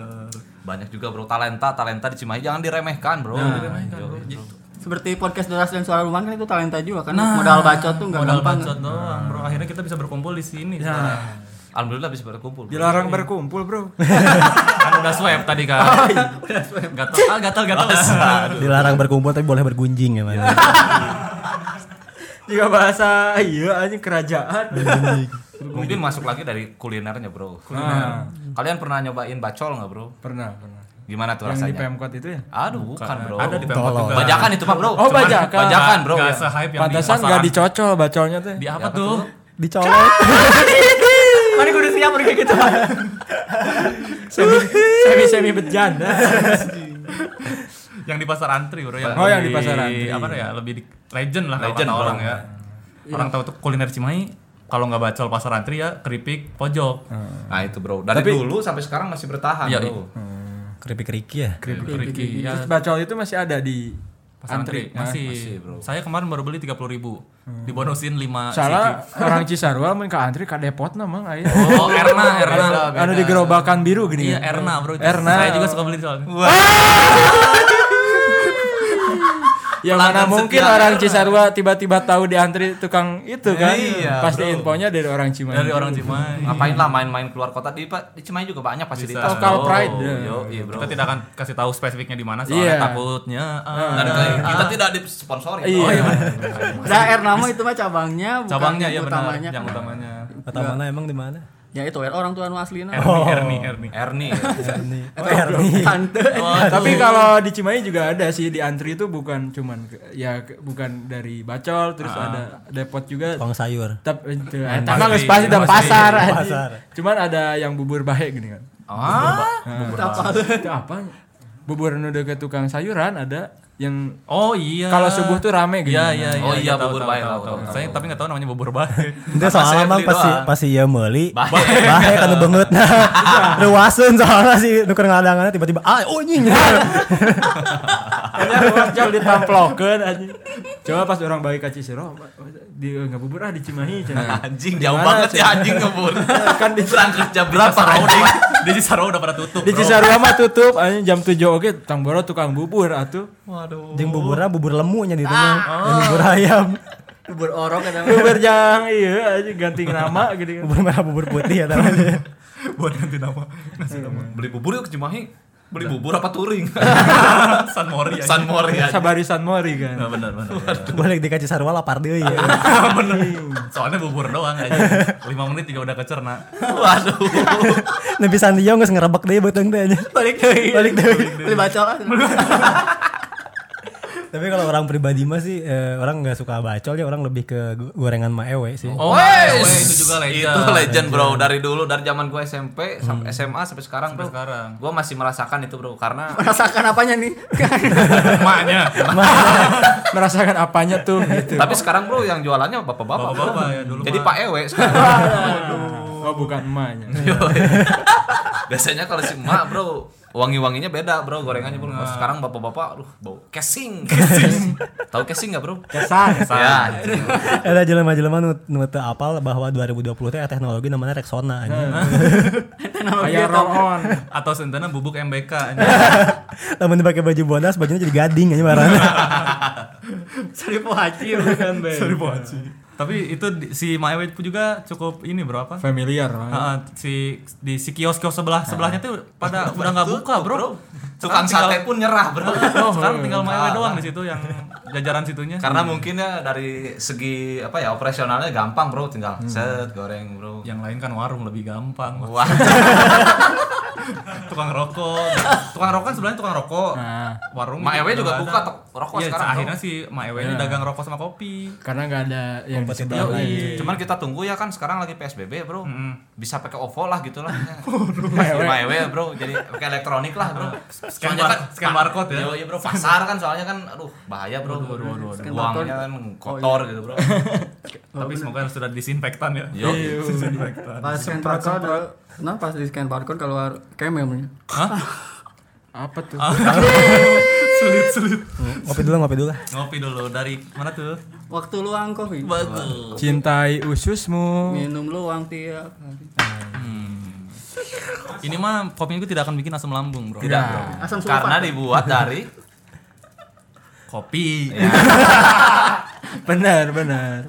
[SPEAKER 2] Banyak juga, bro. Talenta, talenta di Cimahi jangan diremehkan, bro.
[SPEAKER 3] Nah,
[SPEAKER 2] Jangan diremehkan,
[SPEAKER 3] iya,
[SPEAKER 2] bro.
[SPEAKER 6] Seperti podcast Doras dan Suara Rumahan kan itu talenta juga kan. modal bacot tuh enggak
[SPEAKER 3] Nah, Modal
[SPEAKER 6] gampang.
[SPEAKER 3] bacot doang bro Akhirnya kita bisa berkumpul di sini
[SPEAKER 5] Ya.
[SPEAKER 3] sekarang.
[SPEAKER 2] Alhamdulillah bisa berkumpul. bro.
[SPEAKER 5] Dilarang berkumpul, Bro.
[SPEAKER 3] kan udah swab tadi kan gatal ah gatal gatal
[SPEAKER 7] Dilarang berkumpul tapi boleh bergunjing ya, Mas.
[SPEAKER 5] Jika bahasa iya aja kerajaan.
[SPEAKER 2] Mungkin masuk lagi dari kulinernya, bro.
[SPEAKER 5] Nah,
[SPEAKER 2] Kalian pernah nyobain bacol nggak, bro?
[SPEAKER 5] pernah, pernah.
[SPEAKER 2] Gimana tuh
[SPEAKER 5] Yang di
[SPEAKER 2] rasanya?
[SPEAKER 5] Pemkot itu ya?
[SPEAKER 2] Aduh, bukan, bro.
[SPEAKER 3] ada di pemkot juga
[SPEAKER 2] Bajakan itu mah, bro.
[SPEAKER 5] Oh, bajakan.
[SPEAKER 2] Bajakan, bro.
[SPEAKER 3] Gak
[SPEAKER 2] Ya.
[SPEAKER 3] sehype yang
[SPEAKER 5] Pantasan
[SPEAKER 3] di
[SPEAKER 5] nggak
[SPEAKER 3] pasaran.
[SPEAKER 5] dicocol bacolnya tuh.
[SPEAKER 3] di apa tuh
[SPEAKER 7] Dicolek.
[SPEAKER 3] mana gue udah siap kayak gitu
[SPEAKER 5] Semi semi semi bejanda.
[SPEAKER 3] yang di pasar antri bro yang
[SPEAKER 5] Oh, yang di
[SPEAKER 3] lebih-
[SPEAKER 5] pasar antri.
[SPEAKER 3] apa ya lebih di legend lah kalau
[SPEAKER 2] Legend,
[SPEAKER 3] kata
[SPEAKER 2] bro.
[SPEAKER 3] orang ya
[SPEAKER 5] Iya.
[SPEAKER 3] orang tahu tuh kuliner Cimahi kalau nggak bacol pasar antri ya keripik pojok
[SPEAKER 5] Hmm.
[SPEAKER 2] Nah, itu, bro. Dari dulu sampai sekarang masih bertahan,
[SPEAKER 3] Iya,
[SPEAKER 2] bro.
[SPEAKER 7] Keripik-keripik ya.
[SPEAKER 3] keripik keripik ya
[SPEAKER 5] Terus bacol itu masih ada di
[SPEAKER 3] pasar
[SPEAKER 5] ya.
[SPEAKER 3] antri masih, saya kemarin baru beli tiga puluh ribu dibonusin lima
[SPEAKER 5] Hmm. Salah orang Cisarua main ke antri ke Depot namang aya.
[SPEAKER 3] oh Erna Erna
[SPEAKER 5] Anu di gerobakan biru gini.
[SPEAKER 3] Iya
[SPEAKER 5] ya?
[SPEAKER 3] Erna bro
[SPEAKER 5] Erna.
[SPEAKER 3] Saya juga suka beli soalnya
[SPEAKER 5] Ya mana mungkin orang Cisarua tiba-tiba tahu di antri tukang itu kan. Pasti infonya dari orang Cimahi.
[SPEAKER 3] Dari orang Cimahi
[SPEAKER 2] Ngapain lah main-main keluar kota di Pak- di Cimahi juga banyak fasilitas.
[SPEAKER 5] Bisa.
[SPEAKER 2] bro.
[SPEAKER 5] Local pride.
[SPEAKER 2] Oh, Yo, iya, bro.
[SPEAKER 3] Kita tidak akan kasih tahu spesifiknya di mana soalnya
[SPEAKER 5] Iya.
[SPEAKER 3] takutnya ah,
[SPEAKER 2] Dan kita tidak disponsori. Oh, bro.
[SPEAKER 5] Iya.
[SPEAKER 6] Daer nama itu mah cabangnya, bukan
[SPEAKER 3] cabangnya
[SPEAKER 6] yang
[SPEAKER 3] ya benar
[SPEAKER 6] utamanya.
[SPEAKER 3] yang
[SPEAKER 6] kan.
[SPEAKER 3] utamanya.
[SPEAKER 7] Kata mana emang di mana?
[SPEAKER 6] Ya itu er, orang tua nu aslina.
[SPEAKER 3] Erni Erni Erni.
[SPEAKER 2] Ernie.
[SPEAKER 7] Nih.
[SPEAKER 3] Oh,
[SPEAKER 6] Tante.
[SPEAKER 5] Tapi kalau di Cimahi juga ada sih di antri itu bukan cuman ke- ya ke- bukan dari Bacol terus ada Depot juga. eh,
[SPEAKER 7] Tukang sayur.
[SPEAKER 5] Tapi itu emang geus pasti dan pasar. anjing. Cuman ada yang bubur bahe gini kan. Itu apa? Bubur nu ke tukang sayuran ada yang
[SPEAKER 3] Oh iya.
[SPEAKER 5] kalau subuh tuh rame gitu.
[SPEAKER 3] Iya iya iya.
[SPEAKER 2] Oh iya,
[SPEAKER 3] tahu,
[SPEAKER 2] bubur
[SPEAKER 3] tahu,
[SPEAKER 2] bae,
[SPEAKER 3] tahu,
[SPEAKER 2] tahu,
[SPEAKER 3] tahu.
[SPEAKER 2] tahu.
[SPEAKER 3] Saya tapi nggak tahu namanya bubur bae.
[SPEAKER 7] Itu soalnya emang pasti pasti ya meuli. Bahaya kan banget nah. Ruaseun soalnya si nuker ngadangannya tiba-tiba ah oh nying.
[SPEAKER 5] Bacol ditamplokeun anjing. Coba pas orang bayi kaci siro di nggak bubur ah di Cimahi cenah.
[SPEAKER 2] Anjing jauh
[SPEAKER 5] Gimana
[SPEAKER 2] banget
[SPEAKER 5] sih?
[SPEAKER 2] ya anjing ngebur.
[SPEAKER 5] Kan di
[SPEAKER 2] Berangkat jam berapa?
[SPEAKER 3] Di Cisarua udah pada tutup.
[SPEAKER 5] di
[SPEAKER 3] bro.
[SPEAKER 5] Cisarua mah tutup anjing jam 7 oke tukang boro tukang bubur ah, atuh.
[SPEAKER 7] Jeung buburna bubur lemunya di tengah. Dan bubur ayam,
[SPEAKER 6] Bubur orok kan namanya.
[SPEAKER 5] Bubur yang iya aja ganti nama gitu kan.
[SPEAKER 7] bubur merah, bubur putih ya namanya.
[SPEAKER 3] buat ganti nama.
[SPEAKER 5] Iya.
[SPEAKER 2] Beli bubur yuk ke Cimahi. Beli bubur apa touring?
[SPEAKER 3] San Mori. aja.
[SPEAKER 2] San Mori aja.
[SPEAKER 5] Sabarisan Mori kan.
[SPEAKER 3] Nah, benar benar.
[SPEAKER 7] Boleh dikasih sarwa lapar deui ya.
[SPEAKER 3] benar. Soalnya bubur doang aja. 5 menit juga udah kecerna.
[SPEAKER 7] Nepi sandio geus ngerebek deui beuteung teh anjing.
[SPEAKER 6] Balik deui.
[SPEAKER 7] Balik deui.
[SPEAKER 6] Beli bacol. ah.
[SPEAKER 7] Tapi kalau orang pribadi mah sih eh, orang nggak suka bacol ya orang lebih ke go- gorengan maewe sih.
[SPEAKER 2] Oh,
[SPEAKER 3] itu juga legend. Hmm.
[SPEAKER 2] Itu legend, bro. Dari dulu dari zaman gue SMP sampai SMA sampai sekarang, bro.
[SPEAKER 3] sekarang.
[SPEAKER 2] Gue masih merasakan itu, bro. Karena
[SPEAKER 6] Merasakan apanya nih?
[SPEAKER 3] Emaknya.
[SPEAKER 5] Merasakan apanya tuh gitu.
[SPEAKER 2] tapi sekarang, bro, yang jualannya bapak-bapak. bro.
[SPEAKER 3] Bapak-bapak ya dulu.
[SPEAKER 2] Jadi
[SPEAKER 3] mah.
[SPEAKER 2] Pak Ewe sekarang.
[SPEAKER 5] Oh bukan emaknya.
[SPEAKER 2] Biasanya kalau si emak, bro, wangi-wanginya beda, bro. Gorengannya, bro.
[SPEAKER 3] Nah.
[SPEAKER 2] Kalau Sekarang bapak-bapak, aduh, bau casing. Casing. Tahu casing nggak, bro?
[SPEAKER 5] Kesan.
[SPEAKER 2] Ya,
[SPEAKER 7] Ada jelema-jelema nu nu teu apal bahwa 2020 teh teknologi namanya Rexona anjing.
[SPEAKER 5] Kayak roll on.
[SPEAKER 3] Atau sentana bubuk MBK.
[SPEAKER 7] Lamun dipakai baju bodas bajunya jadi gading aja barang.
[SPEAKER 6] Sari pohaci.
[SPEAKER 3] Sorry Tapi itu di- si Maewe pun juga cukup ini bro apa?
[SPEAKER 5] Familiar. ah. lah.
[SPEAKER 3] Ah, si di si kios kios sebelah sebelahnya tuh pada udah nggak buka bro.
[SPEAKER 2] Tukang
[SPEAKER 3] tinggal-
[SPEAKER 2] sate pun nyerah, Bro.
[SPEAKER 3] sekarang tinggal Maiwe doang di situ yang jajaran situnya
[SPEAKER 2] Karena mungkin ya dari segi apa ya operasionalnya gampang, Bro, tinggal
[SPEAKER 3] Hmm.
[SPEAKER 2] set goreng, Bro.
[SPEAKER 3] yang lain kan warung lebih gampang
[SPEAKER 2] Wah.
[SPEAKER 3] tukang rokok tukang rokok kan sebenarnya tukang rokok
[SPEAKER 5] Nah,
[SPEAKER 3] warung
[SPEAKER 2] Mak Ewe juga
[SPEAKER 3] nggak
[SPEAKER 2] buka
[SPEAKER 3] ada.
[SPEAKER 2] tok- rokok
[SPEAKER 3] Iya,
[SPEAKER 2] sekarang, Kan-
[SPEAKER 3] akhirnya si Mak Ewe ini dagang rokok sama kopi
[SPEAKER 5] karena nggak ada yang di sebelah
[SPEAKER 3] Yoi.
[SPEAKER 5] lain.
[SPEAKER 2] Cuman kita tunggu ya kan sekarang lagi PSBB, Bro. Bisa pakai OVO lah gitu lah.
[SPEAKER 5] Maiwe.
[SPEAKER 2] Maiwe, Bro. Jadi pakai elektronik lah, Bro.
[SPEAKER 3] Scan
[SPEAKER 2] Soalnya
[SPEAKER 3] bar- scan barcode ya?
[SPEAKER 2] Iya, iya, Bro. Pasar kan soalnya kan aduh bahaya, Bro.
[SPEAKER 6] Scan barcode.
[SPEAKER 2] Uangnya kan kotor gitu, Bro.
[SPEAKER 3] Oh, iya. tapi semoga sudah disinfektan ya
[SPEAKER 2] Yo.
[SPEAKER 6] Pas scan barcode, nah pas di scan barcode keluar kememnya.
[SPEAKER 5] Apa tuh?
[SPEAKER 3] sulit sulit
[SPEAKER 7] Ngopi dulu, ngopi dulu lah.
[SPEAKER 3] ngopi dulu dari mana tuh
[SPEAKER 6] Waktu luang kopi.
[SPEAKER 5] Cintai ususmu.
[SPEAKER 6] Minum luang tiap hari.
[SPEAKER 3] ini mah kopi itu tidak akan bikin asam lambung bro
[SPEAKER 2] Tidak, Bro.
[SPEAKER 6] Iya. Asam sulfat.
[SPEAKER 2] Karena dibuat dari
[SPEAKER 3] kopi
[SPEAKER 5] Ya. Benar, benar.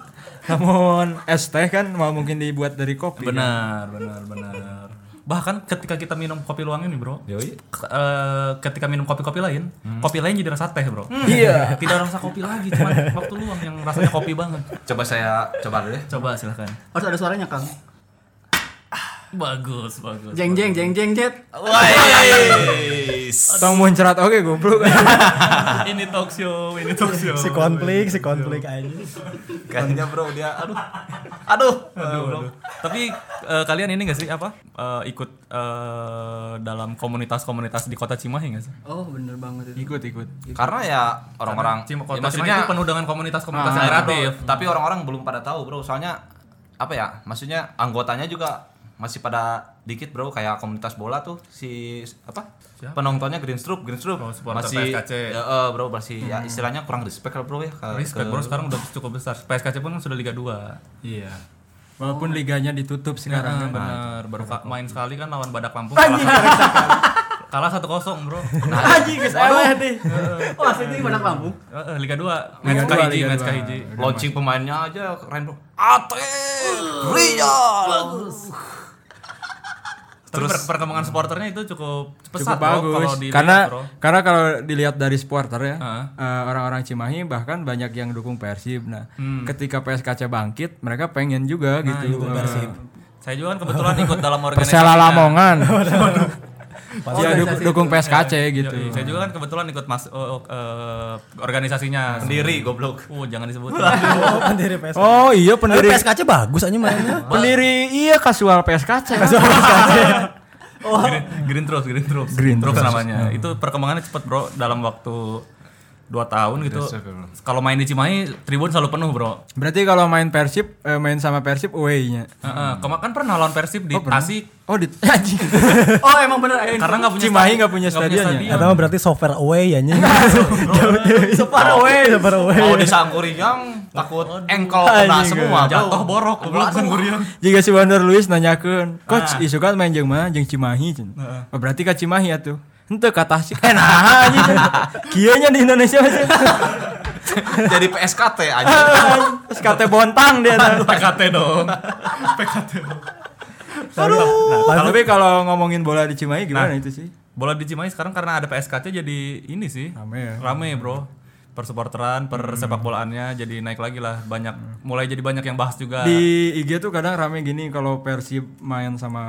[SPEAKER 5] Namun es teh kan mau mungkin dibuat dari kopi. kan?
[SPEAKER 3] benar benar benar bahkan ketika kita minum kopi luang ini bro ke- eh, ketika minum kopi-kopi lain kopi lain jadi rasa teh bro
[SPEAKER 5] Hmm. Iya.
[SPEAKER 3] tidak rasa kopi lagi cuma waktu luang yang rasanya kopi banget
[SPEAKER 2] coba saya coba dulu ya.
[SPEAKER 3] coba silahkan
[SPEAKER 6] Harus ada suaranya, Kang.
[SPEAKER 3] bagus bagus
[SPEAKER 6] Jeng jeng jeng jeng jet.
[SPEAKER 5] Tong muncrat oke goblok.
[SPEAKER 3] ini talk show ini talk show
[SPEAKER 7] Si konflik, si konflik aja.
[SPEAKER 2] Kayaknya bro dia aduh. Aduh.
[SPEAKER 3] Aduh, aduh. Tapi eh, kalian ini gak sih apa eh, ikut eh, dalam komunitas-komunitas di kota Cimahi gak sih?
[SPEAKER 6] Oh, bener banget itu.
[SPEAKER 5] ikut ikut.
[SPEAKER 3] Gitu.
[SPEAKER 2] Karena ya orang-orang
[SPEAKER 3] Cima,
[SPEAKER 2] ya,
[SPEAKER 3] kota
[SPEAKER 2] maksudnya
[SPEAKER 3] Cimahi itu penuh dengan komunitas-komunitas
[SPEAKER 2] Nah,
[SPEAKER 3] yang
[SPEAKER 2] bro,
[SPEAKER 3] kreatif.
[SPEAKER 2] tapi orang-orang belum pada tahu bro soalnya apa ya maksudnya anggotanya juga masih pada dikit bro kayak komunitas bola tuh si apa penontonnya Green Stroop Green Stroop
[SPEAKER 3] Oh, supporter
[SPEAKER 2] masih
[SPEAKER 3] PSKC.
[SPEAKER 2] ya, eh, bro masih ya istilahnya kurang respect lah bro ya ke,
[SPEAKER 3] Hmm. Respect
[SPEAKER 2] ke-
[SPEAKER 3] bro sekarang udah cukup besar. PSKC pun sudah Liga 2.
[SPEAKER 5] Iya. Walaupun liganya ditutup sekarang.
[SPEAKER 3] Sekarang
[SPEAKER 5] kan.
[SPEAKER 3] bener
[SPEAKER 2] Nah,
[SPEAKER 3] baru ka- main sekali kan lawan Badak Lampung. Kalah, kalah 1-0, Bro. Nah,
[SPEAKER 6] Aji guys, eleh deh. Oh, asli ini Badak Lampung.
[SPEAKER 3] eh, eh, Liga 2, match kahiji, match kahiji.
[SPEAKER 2] launching pemainnya aja keren bro Ate Rizal
[SPEAKER 3] Terus perkembangan supporternya itu cukup pesat
[SPEAKER 5] Cukup
[SPEAKER 3] bro,
[SPEAKER 5] bagus.
[SPEAKER 3] kalau di
[SPEAKER 5] karena
[SPEAKER 3] Bro.
[SPEAKER 5] karena kalau dilihat dari supporter ya,
[SPEAKER 3] Heeh.
[SPEAKER 5] eh, orang-orang Cimahi bahkan banyak yang dukung Persib. Nah, ketika PSKC bangkit, mereka pengen juga gitu. Persib.
[SPEAKER 3] Saya juga kan kebetulan ikut dalam organisasi.
[SPEAKER 5] Persela Lamongan. Dia Iya, duk- dukung PSKC gitu.
[SPEAKER 3] Yoi, Saya juga kan kebetulan ikut mas oh, oh, eh, organisasinya
[SPEAKER 2] sendiri goblok
[SPEAKER 3] Oh, jangan disebut.
[SPEAKER 7] Oh, pendiri PSKC.
[SPEAKER 5] Oh iya
[SPEAKER 7] Tapi
[SPEAKER 5] pendiri
[SPEAKER 7] PSKC bagus aja mainnya.
[SPEAKER 5] pendiri iya kasual PSKC.
[SPEAKER 3] Green, Green Troops, Green Troops.
[SPEAKER 5] Green
[SPEAKER 3] Troops
[SPEAKER 5] Troops.
[SPEAKER 3] namanya. Itu perkembangannya cepet, Bro, dalam waktu dua tahun gitu. Kalau main di Cimahi, tribun selalu penuh, Bro.
[SPEAKER 5] Berarti kalau main Persib eh, main sama Persib away-nya.
[SPEAKER 3] Heeh, kema- kan pernah lawan Persib di Tasik
[SPEAKER 5] Oh di anjing.
[SPEAKER 6] Oh, emang bener eh.
[SPEAKER 3] karena nggak punya ya?
[SPEAKER 5] Cimahi
[SPEAKER 3] stadi-
[SPEAKER 5] nggak punya stadionnya.
[SPEAKER 7] Atau mah berarti software away ya anjing.
[SPEAKER 6] Separ away.
[SPEAKER 7] Software away.
[SPEAKER 2] mau disangkuri yang takut engkel kena
[SPEAKER 5] Anjing,
[SPEAKER 2] semua bro.
[SPEAKER 3] Jatuh borok, goblok kan Gurion.
[SPEAKER 5] Jika si Wander Luis nanyakan, coach isu kan main jeung mana? Jeung Cimahi cen. Oh, berarti ka Cimahi atuh. Henteu ka Tasik. Eh nah anjing. Kieu nya di Indonesia masih.
[SPEAKER 2] jadi PSKT aja
[SPEAKER 5] Iya, Terus kate bontang dia. tah.
[SPEAKER 3] PKT dong. PKT.
[SPEAKER 5] Nah, tapi kalau ngomongin bola di Cimahi gimana itu sih?
[SPEAKER 3] Bola di Cimahi sekarang karena ada PSKC jadi ini sih.
[SPEAKER 5] Rame ya. Hmm.
[SPEAKER 3] Rame, Bro. Persupporteran, per sepak bolaannya jadi naik lagi lah banyak mulai jadi banyak yang bahas juga.
[SPEAKER 5] di IG tuh kadang rame gini kalau Persib main sama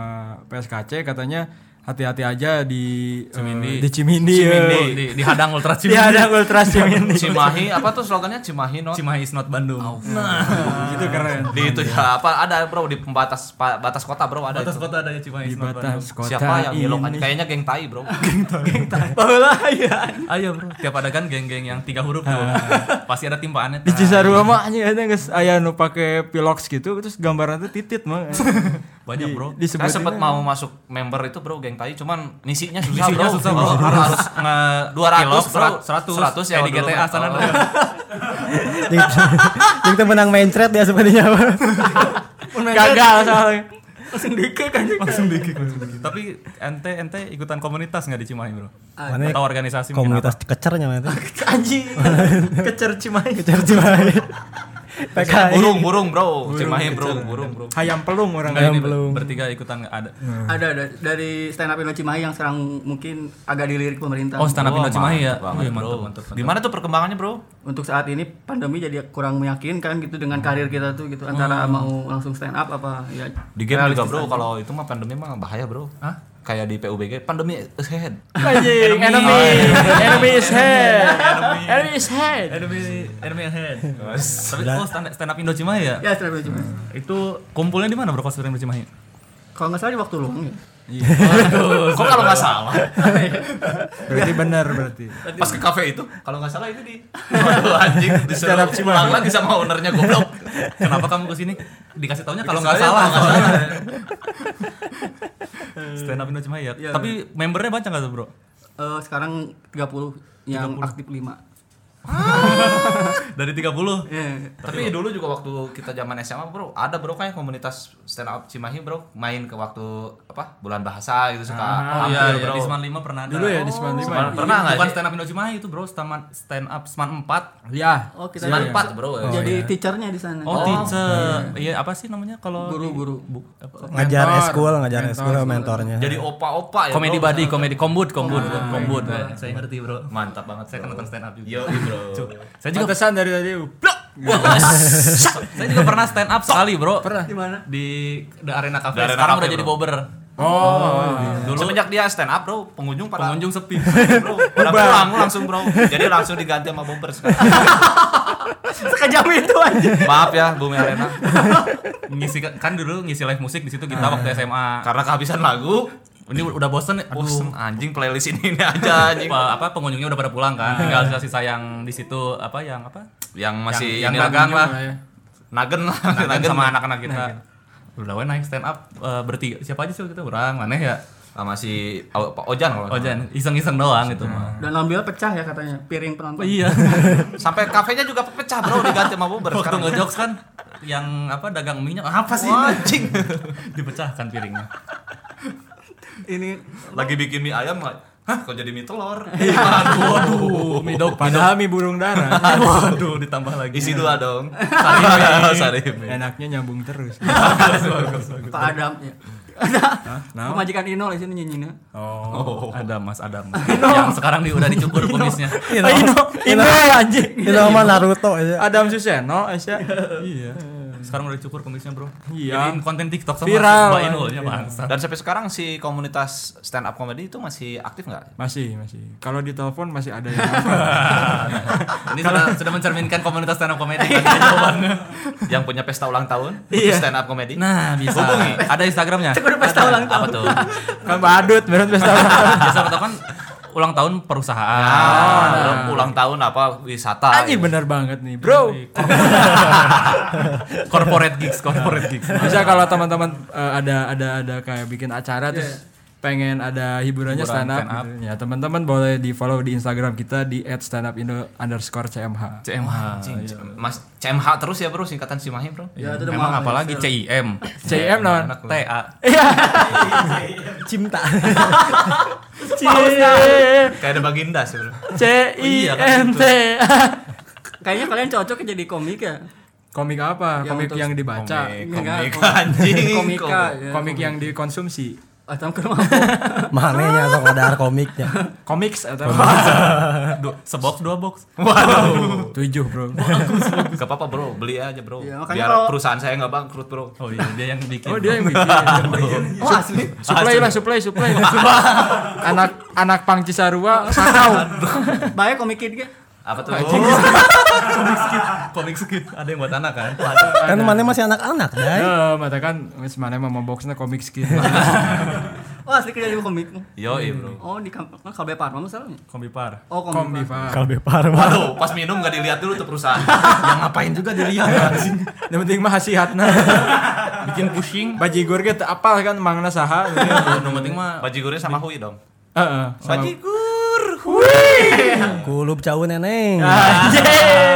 [SPEAKER 5] PSKC katanya hati-hati aja di
[SPEAKER 3] Cimindi.
[SPEAKER 5] eh, di Cimindi,
[SPEAKER 3] Cimindi,
[SPEAKER 5] ya.
[SPEAKER 3] di, di hadang ultra
[SPEAKER 5] Di
[SPEAKER 3] Cimindi.
[SPEAKER 5] ada Ultra Cimindi.
[SPEAKER 2] Cimahi apa tuh slogannya Cimahi not
[SPEAKER 3] Cimahi is not Bandung.
[SPEAKER 5] itu Nah, gitu keren.
[SPEAKER 2] di itu ya apa ada bro di pembatas pa- batas kota bro ada
[SPEAKER 3] Atas
[SPEAKER 2] itu.
[SPEAKER 3] kota ya? adanya Cimahi
[SPEAKER 5] Di
[SPEAKER 3] is not Bandung.
[SPEAKER 5] batas kota Iya.
[SPEAKER 2] siapa yang
[SPEAKER 5] ini.
[SPEAKER 2] belok aja kayaknya geng tai bro
[SPEAKER 5] Oh, iya.
[SPEAKER 3] Ayo bro, tiap ada kan geng-geng yang tiga huruf tuh.
[SPEAKER 5] Ah.
[SPEAKER 3] Pasti ada
[SPEAKER 2] Nah,
[SPEAKER 3] timpaannya.
[SPEAKER 5] Di Cisarua mah anjing ada geus aya nu pake pilox gitu terus gambarnya tuh titit mah.
[SPEAKER 3] Banyak bro.
[SPEAKER 2] saya sempet
[SPEAKER 5] Disebutin.
[SPEAKER 2] mau masuk member itu bro geng tai cuman ngisinya susah
[SPEAKER 3] Isinya
[SPEAKER 2] bro
[SPEAKER 3] susah bro. Harus nge
[SPEAKER 2] 200
[SPEAKER 3] pilok,
[SPEAKER 2] bro. 100
[SPEAKER 3] 100
[SPEAKER 2] ya
[SPEAKER 3] kayak di
[SPEAKER 2] dulu.
[SPEAKER 3] GTA sana
[SPEAKER 2] Oh.
[SPEAKER 3] ada.
[SPEAKER 7] Jeung jeung teu menang main thread ya sebenarnya.
[SPEAKER 5] Gagal soalnya.
[SPEAKER 3] Langsung dikik. Tapi ente ente ikutan komunitas nggak di Cimahi bro?
[SPEAKER 7] Mana
[SPEAKER 3] Atau organisasi mungkin
[SPEAKER 7] komunitas kecernya mana itu?
[SPEAKER 6] Anjing.
[SPEAKER 7] Kecer Cimahi. PKI.
[SPEAKER 2] burung burung gitu. bro cimahi bro burung bro
[SPEAKER 5] Hayam pelung orang
[SPEAKER 3] Enggak ini ber-
[SPEAKER 7] belum.
[SPEAKER 3] bertiga ikutan nggak ada.
[SPEAKER 6] Ada ada- dari stand up Indo Cimahi yang sekarang mungkin agak dilirik pemerintah.
[SPEAKER 3] Oh, stand up
[SPEAKER 2] Wah,
[SPEAKER 3] Indo Cimahi ya.
[SPEAKER 2] mantep banget,
[SPEAKER 3] Wih, mantap,
[SPEAKER 2] bro.
[SPEAKER 3] mantap.
[SPEAKER 2] Gimana tuh perkembangannya, Bro?
[SPEAKER 6] Untuk saat ini pandemi jadi kurang meyakinkan gitu dengan karir kita tuh gitu antara
[SPEAKER 3] Hmm.
[SPEAKER 6] mau langsung stand up apa ya
[SPEAKER 2] Di game juga, Bro. Kalau itu mah pandemi mah bahaya, Bro. Hah? Kayak di PUBG, pandemi Oh, is head.
[SPEAKER 5] Anjing, enemy.
[SPEAKER 2] iya.
[SPEAKER 5] Enemy is head. Enemy is head.
[SPEAKER 3] Enemy enemy head. Tapi oh, stand, stand up Indo Cimahi ya?
[SPEAKER 6] ya stand up Indo Cimahi.
[SPEAKER 3] Itu kumpulnya di mana bro kalau stand up Indo Cimahi?
[SPEAKER 6] Kalau nggak salah di waktu luang ya.
[SPEAKER 2] Kok kalau nggak salah?
[SPEAKER 5] Berarti benar berarti.
[SPEAKER 2] Pas ke kafe itu, kalau nggak salah itu di Waduh anjing, disuruh
[SPEAKER 3] ya.
[SPEAKER 2] pulang lagi sama ownernya goblok.
[SPEAKER 3] Kenapa kamu ke sini? Dikasih taunya kalau nggak
[SPEAKER 2] Dikasih taunya
[SPEAKER 3] salah.
[SPEAKER 2] kalau nggak
[SPEAKER 3] stand up Indo Cimahi ya. Tapi membernya banyak nggak tuh bro?
[SPEAKER 6] Eh, sekarang 30 yang aktif 5.
[SPEAKER 3] Dari 30
[SPEAKER 6] Iya.
[SPEAKER 2] Tapi dulu juga waktu kita zaman SMA, Bro, ada Bro kayak komunitas stand up Cimahi, Bro, main ke waktu apa? Bulan bahasa gitu suka
[SPEAKER 3] Oh
[SPEAKER 2] tampil,
[SPEAKER 3] iya,
[SPEAKER 2] Bro.
[SPEAKER 3] di Seman 5 pernah ada.
[SPEAKER 5] Dulu ya di 95.
[SPEAKER 2] Seman- pernah nggak
[SPEAKER 3] Bukan
[SPEAKER 2] sih?
[SPEAKER 3] stand up Indo Cimahi itu bro, stand stand up Seman 4.
[SPEAKER 5] Ya.
[SPEAKER 6] Oh, kita
[SPEAKER 2] Seman 4, Bro. ya.
[SPEAKER 3] Iya.
[SPEAKER 6] jadi teachernya di sana.
[SPEAKER 3] Oh, teacher. Iya, apa sih namanya kalau
[SPEAKER 6] Guru-guru.
[SPEAKER 3] Bu- apa?
[SPEAKER 7] Ngajar
[SPEAKER 5] Mentor.
[SPEAKER 7] eskul, ngajar eskul mentornya.
[SPEAKER 2] Jadi opa-opa ya.
[SPEAKER 3] Komedi
[SPEAKER 2] bro,
[SPEAKER 3] body,
[SPEAKER 2] misalnya.
[SPEAKER 3] komedi kombut, kombut, kombut. Saya ngerti bro.
[SPEAKER 2] Nah, Mantap banget. Saya kan nonton stand up juga. Yo, bro.
[SPEAKER 3] Saya juga
[SPEAKER 5] Pantesan dari tadi. Oh, blok.
[SPEAKER 3] saya juga pernah stand up sekali bro. Pernah.
[SPEAKER 6] Di mana?
[SPEAKER 3] Di The Arena Cafe.
[SPEAKER 2] The Arena
[SPEAKER 3] Sekarang
[SPEAKER 2] Cafe,
[SPEAKER 3] udah jadi
[SPEAKER 2] bro. Iya.
[SPEAKER 3] bober.
[SPEAKER 2] Dulu semenjak dia stand up, Bro, pengunjung pada Iya,
[SPEAKER 3] Pengunjung sepi.
[SPEAKER 2] bro, pada pulang langsung, Bro. Jadi langsung diganti sama bomber sekarang.
[SPEAKER 6] Sekejam itu aja.
[SPEAKER 2] Maaf ya, Bumi Arena.
[SPEAKER 3] ngisi kan dulu ngisi live musik di situ kita waktu SMA.
[SPEAKER 2] Ah. Karena kehabisan lagu,
[SPEAKER 3] Ini udah bosen, nih.
[SPEAKER 2] bosen
[SPEAKER 3] bosen
[SPEAKER 2] anjing playlist ini, ini aja anjing.
[SPEAKER 3] apa, apa pengunjungnya udah pada pulang kan tinggal sisa yang di situ apa yang apa
[SPEAKER 2] Yang masih
[SPEAKER 3] yang
[SPEAKER 2] ini
[SPEAKER 3] dagang lah
[SPEAKER 2] Nagen lah,
[SPEAKER 3] nagen sama anak-anak kita udah we naik stand up eh, bertiga siapa aja sih kita orang mana ya
[SPEAKER 2] Sama si Aw- Pak Ah, Ojan kalau. nggak salah.
[SPEAKER 3] Ojan iseng-iseng doang gitu mah
[SPEAKER 6] Dan alhamdulillah pecah ya katanya piring penonton.
[SPEAKER 3] iya
[SPEAKER 2] Sampai kafenya juga pecah, Bro, diganti sama bomber
[SPEAKER 3] waktu
[SPEAKER 2] sekarang.
[SPEAKER 3] ngejokes kan yang apa dagang minyak apa sih
[SPEAKER 2] Wah, anjing.
[SPEAKER 3] dipecahkan piringnya
[SPEAKER 6] Ini
[SPEAKER 2] Lagi bikin mie ayam, Hah, kok jadi mie telur?
[SPEAKER 3] Iya.
[SPEAKER 2] Waduh,
[SPEAKER 5] Mie dog, oh, padahal mie burung darah.
[SPEAKER 3] waduh ditambah lagi
[SPEAKER 2] isi dua dong. Sarimi, sarimi.
[SPEAKER 5] Enaknya nyambung terus.
[SPEAKER 6] Pak Adam ya. Pemajikan Inol di sini nyinyinya.
[SPEAKER 3] oh ada Mas Adam yang sekarang di, udah dicukur kumisnya
[SPEAKER 5] Iya.
[SPEAKER 7] Ino, Ino, anjing. Ino sama Naruto aja.
[SPEAKER 5] Adam Suseno, Asia. Iya.
[SPEAKER 3] Oh, sekarang udah dicukur kumisnya bro
[SPEAKER 5] Iya.
[SPEAKER 3] jadi konten TikTok sama
[SPEAKER 5] Viral. Iya.
[SPEAKER 3] Mbak Inulnya bangsa
[SPEAKER 2] Dan sampai sekarang si komunitas stand up comedy itu masih aktif nggak?
[SPEAKER 5] Masih, masih. Kalau ditelepon masih ada yang
[SPEAKER 3] ini sudah, sudah mencerminkan komunitas stand up comedy kan, ya, jawabannya.
[SPEAKER 2] Yang punya pesta ulang tahun,
[SPEAKER 5] Iya.
[SPEAKER 2] stand up comedy.
[SPEAKER 3] nah bisa
[SPEAKER 2] Hubungi.
[SPEAKER 3] ada instagramnya
[SPEAKER 6] Cukup pesta
[SPEAKER 3] Ada.
[SPEAKER 6] ulang
[SPEAKER 3] apa tuh
[SPEAKER 5] kan badut, berat pesta.
[SPEAKER 3] biasa atau kan ulang tahun perusahaan
[SPEAKER 2] Ah, ulang tahun apa wisata? gitu.
[SPEAKER 5] Anjing bener banget nih, Iya. Bro.
[SPEAKER 3] corporate gigs corporate gigs
[SPEAKER 5] Bisa kalau teman-teman eh, ada ada ada kayak bikin acara terus pengen ada hiburannya stand up, gitu. ya teman-teman boleh di follow di Instagram kita di @standupindo underscore cmh
[SPEAKER 3] CMH
[SPEAKER 2] Anjing, Mas CMH terus ya bro singkatan Cimahi bro.
[SPEAKER 6] Ya itu udah
[SPEAKER 3] emang
[SPEAKER 6] maaf, ya.
[SPEAKER 3] apalagi CIM
[SPEAKER 5] CM nawan
[SPEAKER 3] TA
[SPEAKER 2] Eh,
[SPEAKER 7] Cinta.
[SPEAKER 5] C
[SPEAKER 2] Kayak ada baginda sih bro.
[SPEAKER 5] C I M T
[SPEAKER 6] Kayaknya kalian cocok jadi komik ya.
[SPEAKER 5] komik
[SPEAKER 6] Yang
[SPEAKER 5] apa Ya, komik
[SPEAKER 6] untuk-
[SPEAKER 5] yang dibaca
[SPEAKER 6] Enggak,
[SPEAKER 2] komika, anjing.
[SPEAKER 6] Komika. ya.
[SPEAKER 5] komik yang dikonsumsi
[SPEAKER 6] Atau ke mampu.
[SPEAKER 7] Manenya sok ada komiknya.
[SPEAKER 5] komiks atau
[SPEAKER 3] sebox dua box
[SPEAKER 2] Waduh.
[SPEAKER 5] tujuh bro
[SPEAKER 2] Gak apa-apa bro, beli aja bro.
[SPEAKER 6] Iya, makanya
[SPEAKER 2] Biar
[SPEAKER 6] kalau-
[SPEAKER 2] perusahaan saya nggak bangkrut bro.
[SPEAKER 3] oh iya dia yang bikin
[SPEAKER 5] oh dia yang bikin
[SPEAKER 6] Oh asli.
[SPEAKER 5] Suplai lah, suplai, suplai. anak anak pang Cisarua, Sakau.
[SPEAKER 6] Baik komik kid ge.
[SPEAKER 2] Apa tuh? Oh.
[SPEAKER 3] komik skit ada yang buat anak kan
[SPEAKER 7] Kan mana masih anak-anak,
[SPEAKER 3] Eh?
[SPEAKER 7] dai.
[SPEAKER 5] Ya, mata kan wis mana mah boxnya komik skin.
[SPEAKER 6] Oh asli kerja di komik.
[SPEAKER 2] Yo bro.
[SPEAKER 6] Oh di kamp KB Parma misalnya.
[SPEAKER 3] kombipar
[SPEAKER 6] Oh komik.
[SPEAKER 5] Komik Pak.
[SPEAKER 7] Kalbe Parma.
[SPEAKER 2] Waduh, pas minum nggak dilihat dulu tuh perusahaan.
[SPEAKER 3] yang Ya, ngapain juga dilihat
[SPEAKER 5] Yang penting mah hasihatna.
[SPEAKER 3] bikin pusing
[SPEAKER 5] Bajigur ge teu apal kan mangna saha.
[SPEAKER 3] Iya, yang penting mah
[SPEAKER 2] Bajigurnya sama Hui dong.
[SPEAKER 5] Heeh. sama-
[SPEAKER 2] Bajigur.
[SPEAKER 7] Kulub cau neneng.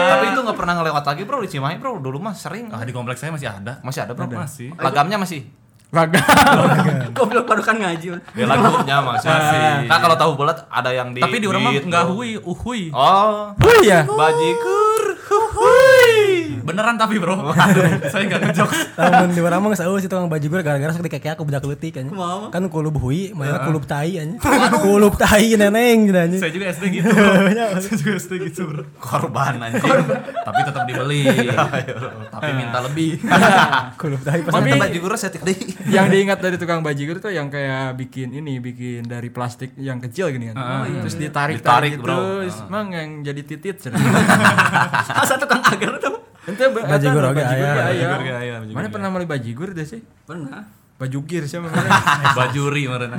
[SPEAKER 2] Tapi itu nggak pernah ngelewat lagi bro di Cimahi bro. Dulu mah sering.
[SPEAKER 3] ah di kompleks saya masih ada
[SPEAKER 2] Masih ada bro.
[SPEAKER 3] Masih.
[SPEAKER 2] Lagamnya masih.
[SPEAKER 5] Laga.
[SPEAKER 6] Goblok baru kan ngaji.
[SPEAKER 2] Ya lagunya masih. Nah kalau tahu bola ada yang di. gitu. Oh,
[SPEAKER 3] tapi di orang mah
[SPEAKER 2] beat,
[SPEAKER 3] nggak
[SPEAKER 2] bro.
[SPEAKER 3] hui uhui
[SPEAKER 2] Oh.
[SPEAKER 5] Oh iya.
[SPEAKER 2] Bajigur. Hui.
[SPEAKER 3] Beneran tapi bro. Saya nggak ngejokes.
[SPEAKER 7] Lamun di orang mah geus eueuh si tukang bajigur gara-gara sok dikekek aku budak leutik anjing.
[SPEAKER 6] Kumaha?
[SPEAKER 7] Kan kulub hui, mana kulub tai anjing. Kulub tai neneng gitu anjing.
[SPEAKER 3] Saya juga SD gitu. Bro. Saya juga SD gitu bro.
[SPEAKER 2] korban anjing tapi tetap dibeli tapi minta lebih
[SPEAKER 7] Kulub tai pas
[SPEAKER 2] tapi tempat juga saya tidak
[SPEAKER 5] yang diingat dari tukang bajigur tuh yang kayak bikin ini bikin dari plastik yang kecil gini kan terus
[SPEAKER 3] iya.
[SPEAKER 2] Ditarik,
[SPEAKER 5] ditarik tarik gitu,
[SPEAKER 2] bro.
[SPEAKER 5] terus mang yang jadi titit cenah.
[SPEAKER 6] Asa tukang agar tuh.
[SPEAKER 5] ente ba-
[SPEAKER 7] Bajigur
[SPEAKER 5] eta,
[SPEAKER 7] oge
[SPEAKER 5] bajigur
[SPEAKER 7] aya.
[SPEAKER 5] ge aya.
[SPEAKER 3] Bajigur ge aya, bajigur
[SPEAKER 5] mana
[SPEAKER 3] ge
[SPEAKER 5] pernah beli bajigur deh sih
[SPEAKER 6] Pernah.
[SPEAKER 5] bajugir sih mana
[SPEAKER 2] bajuri meren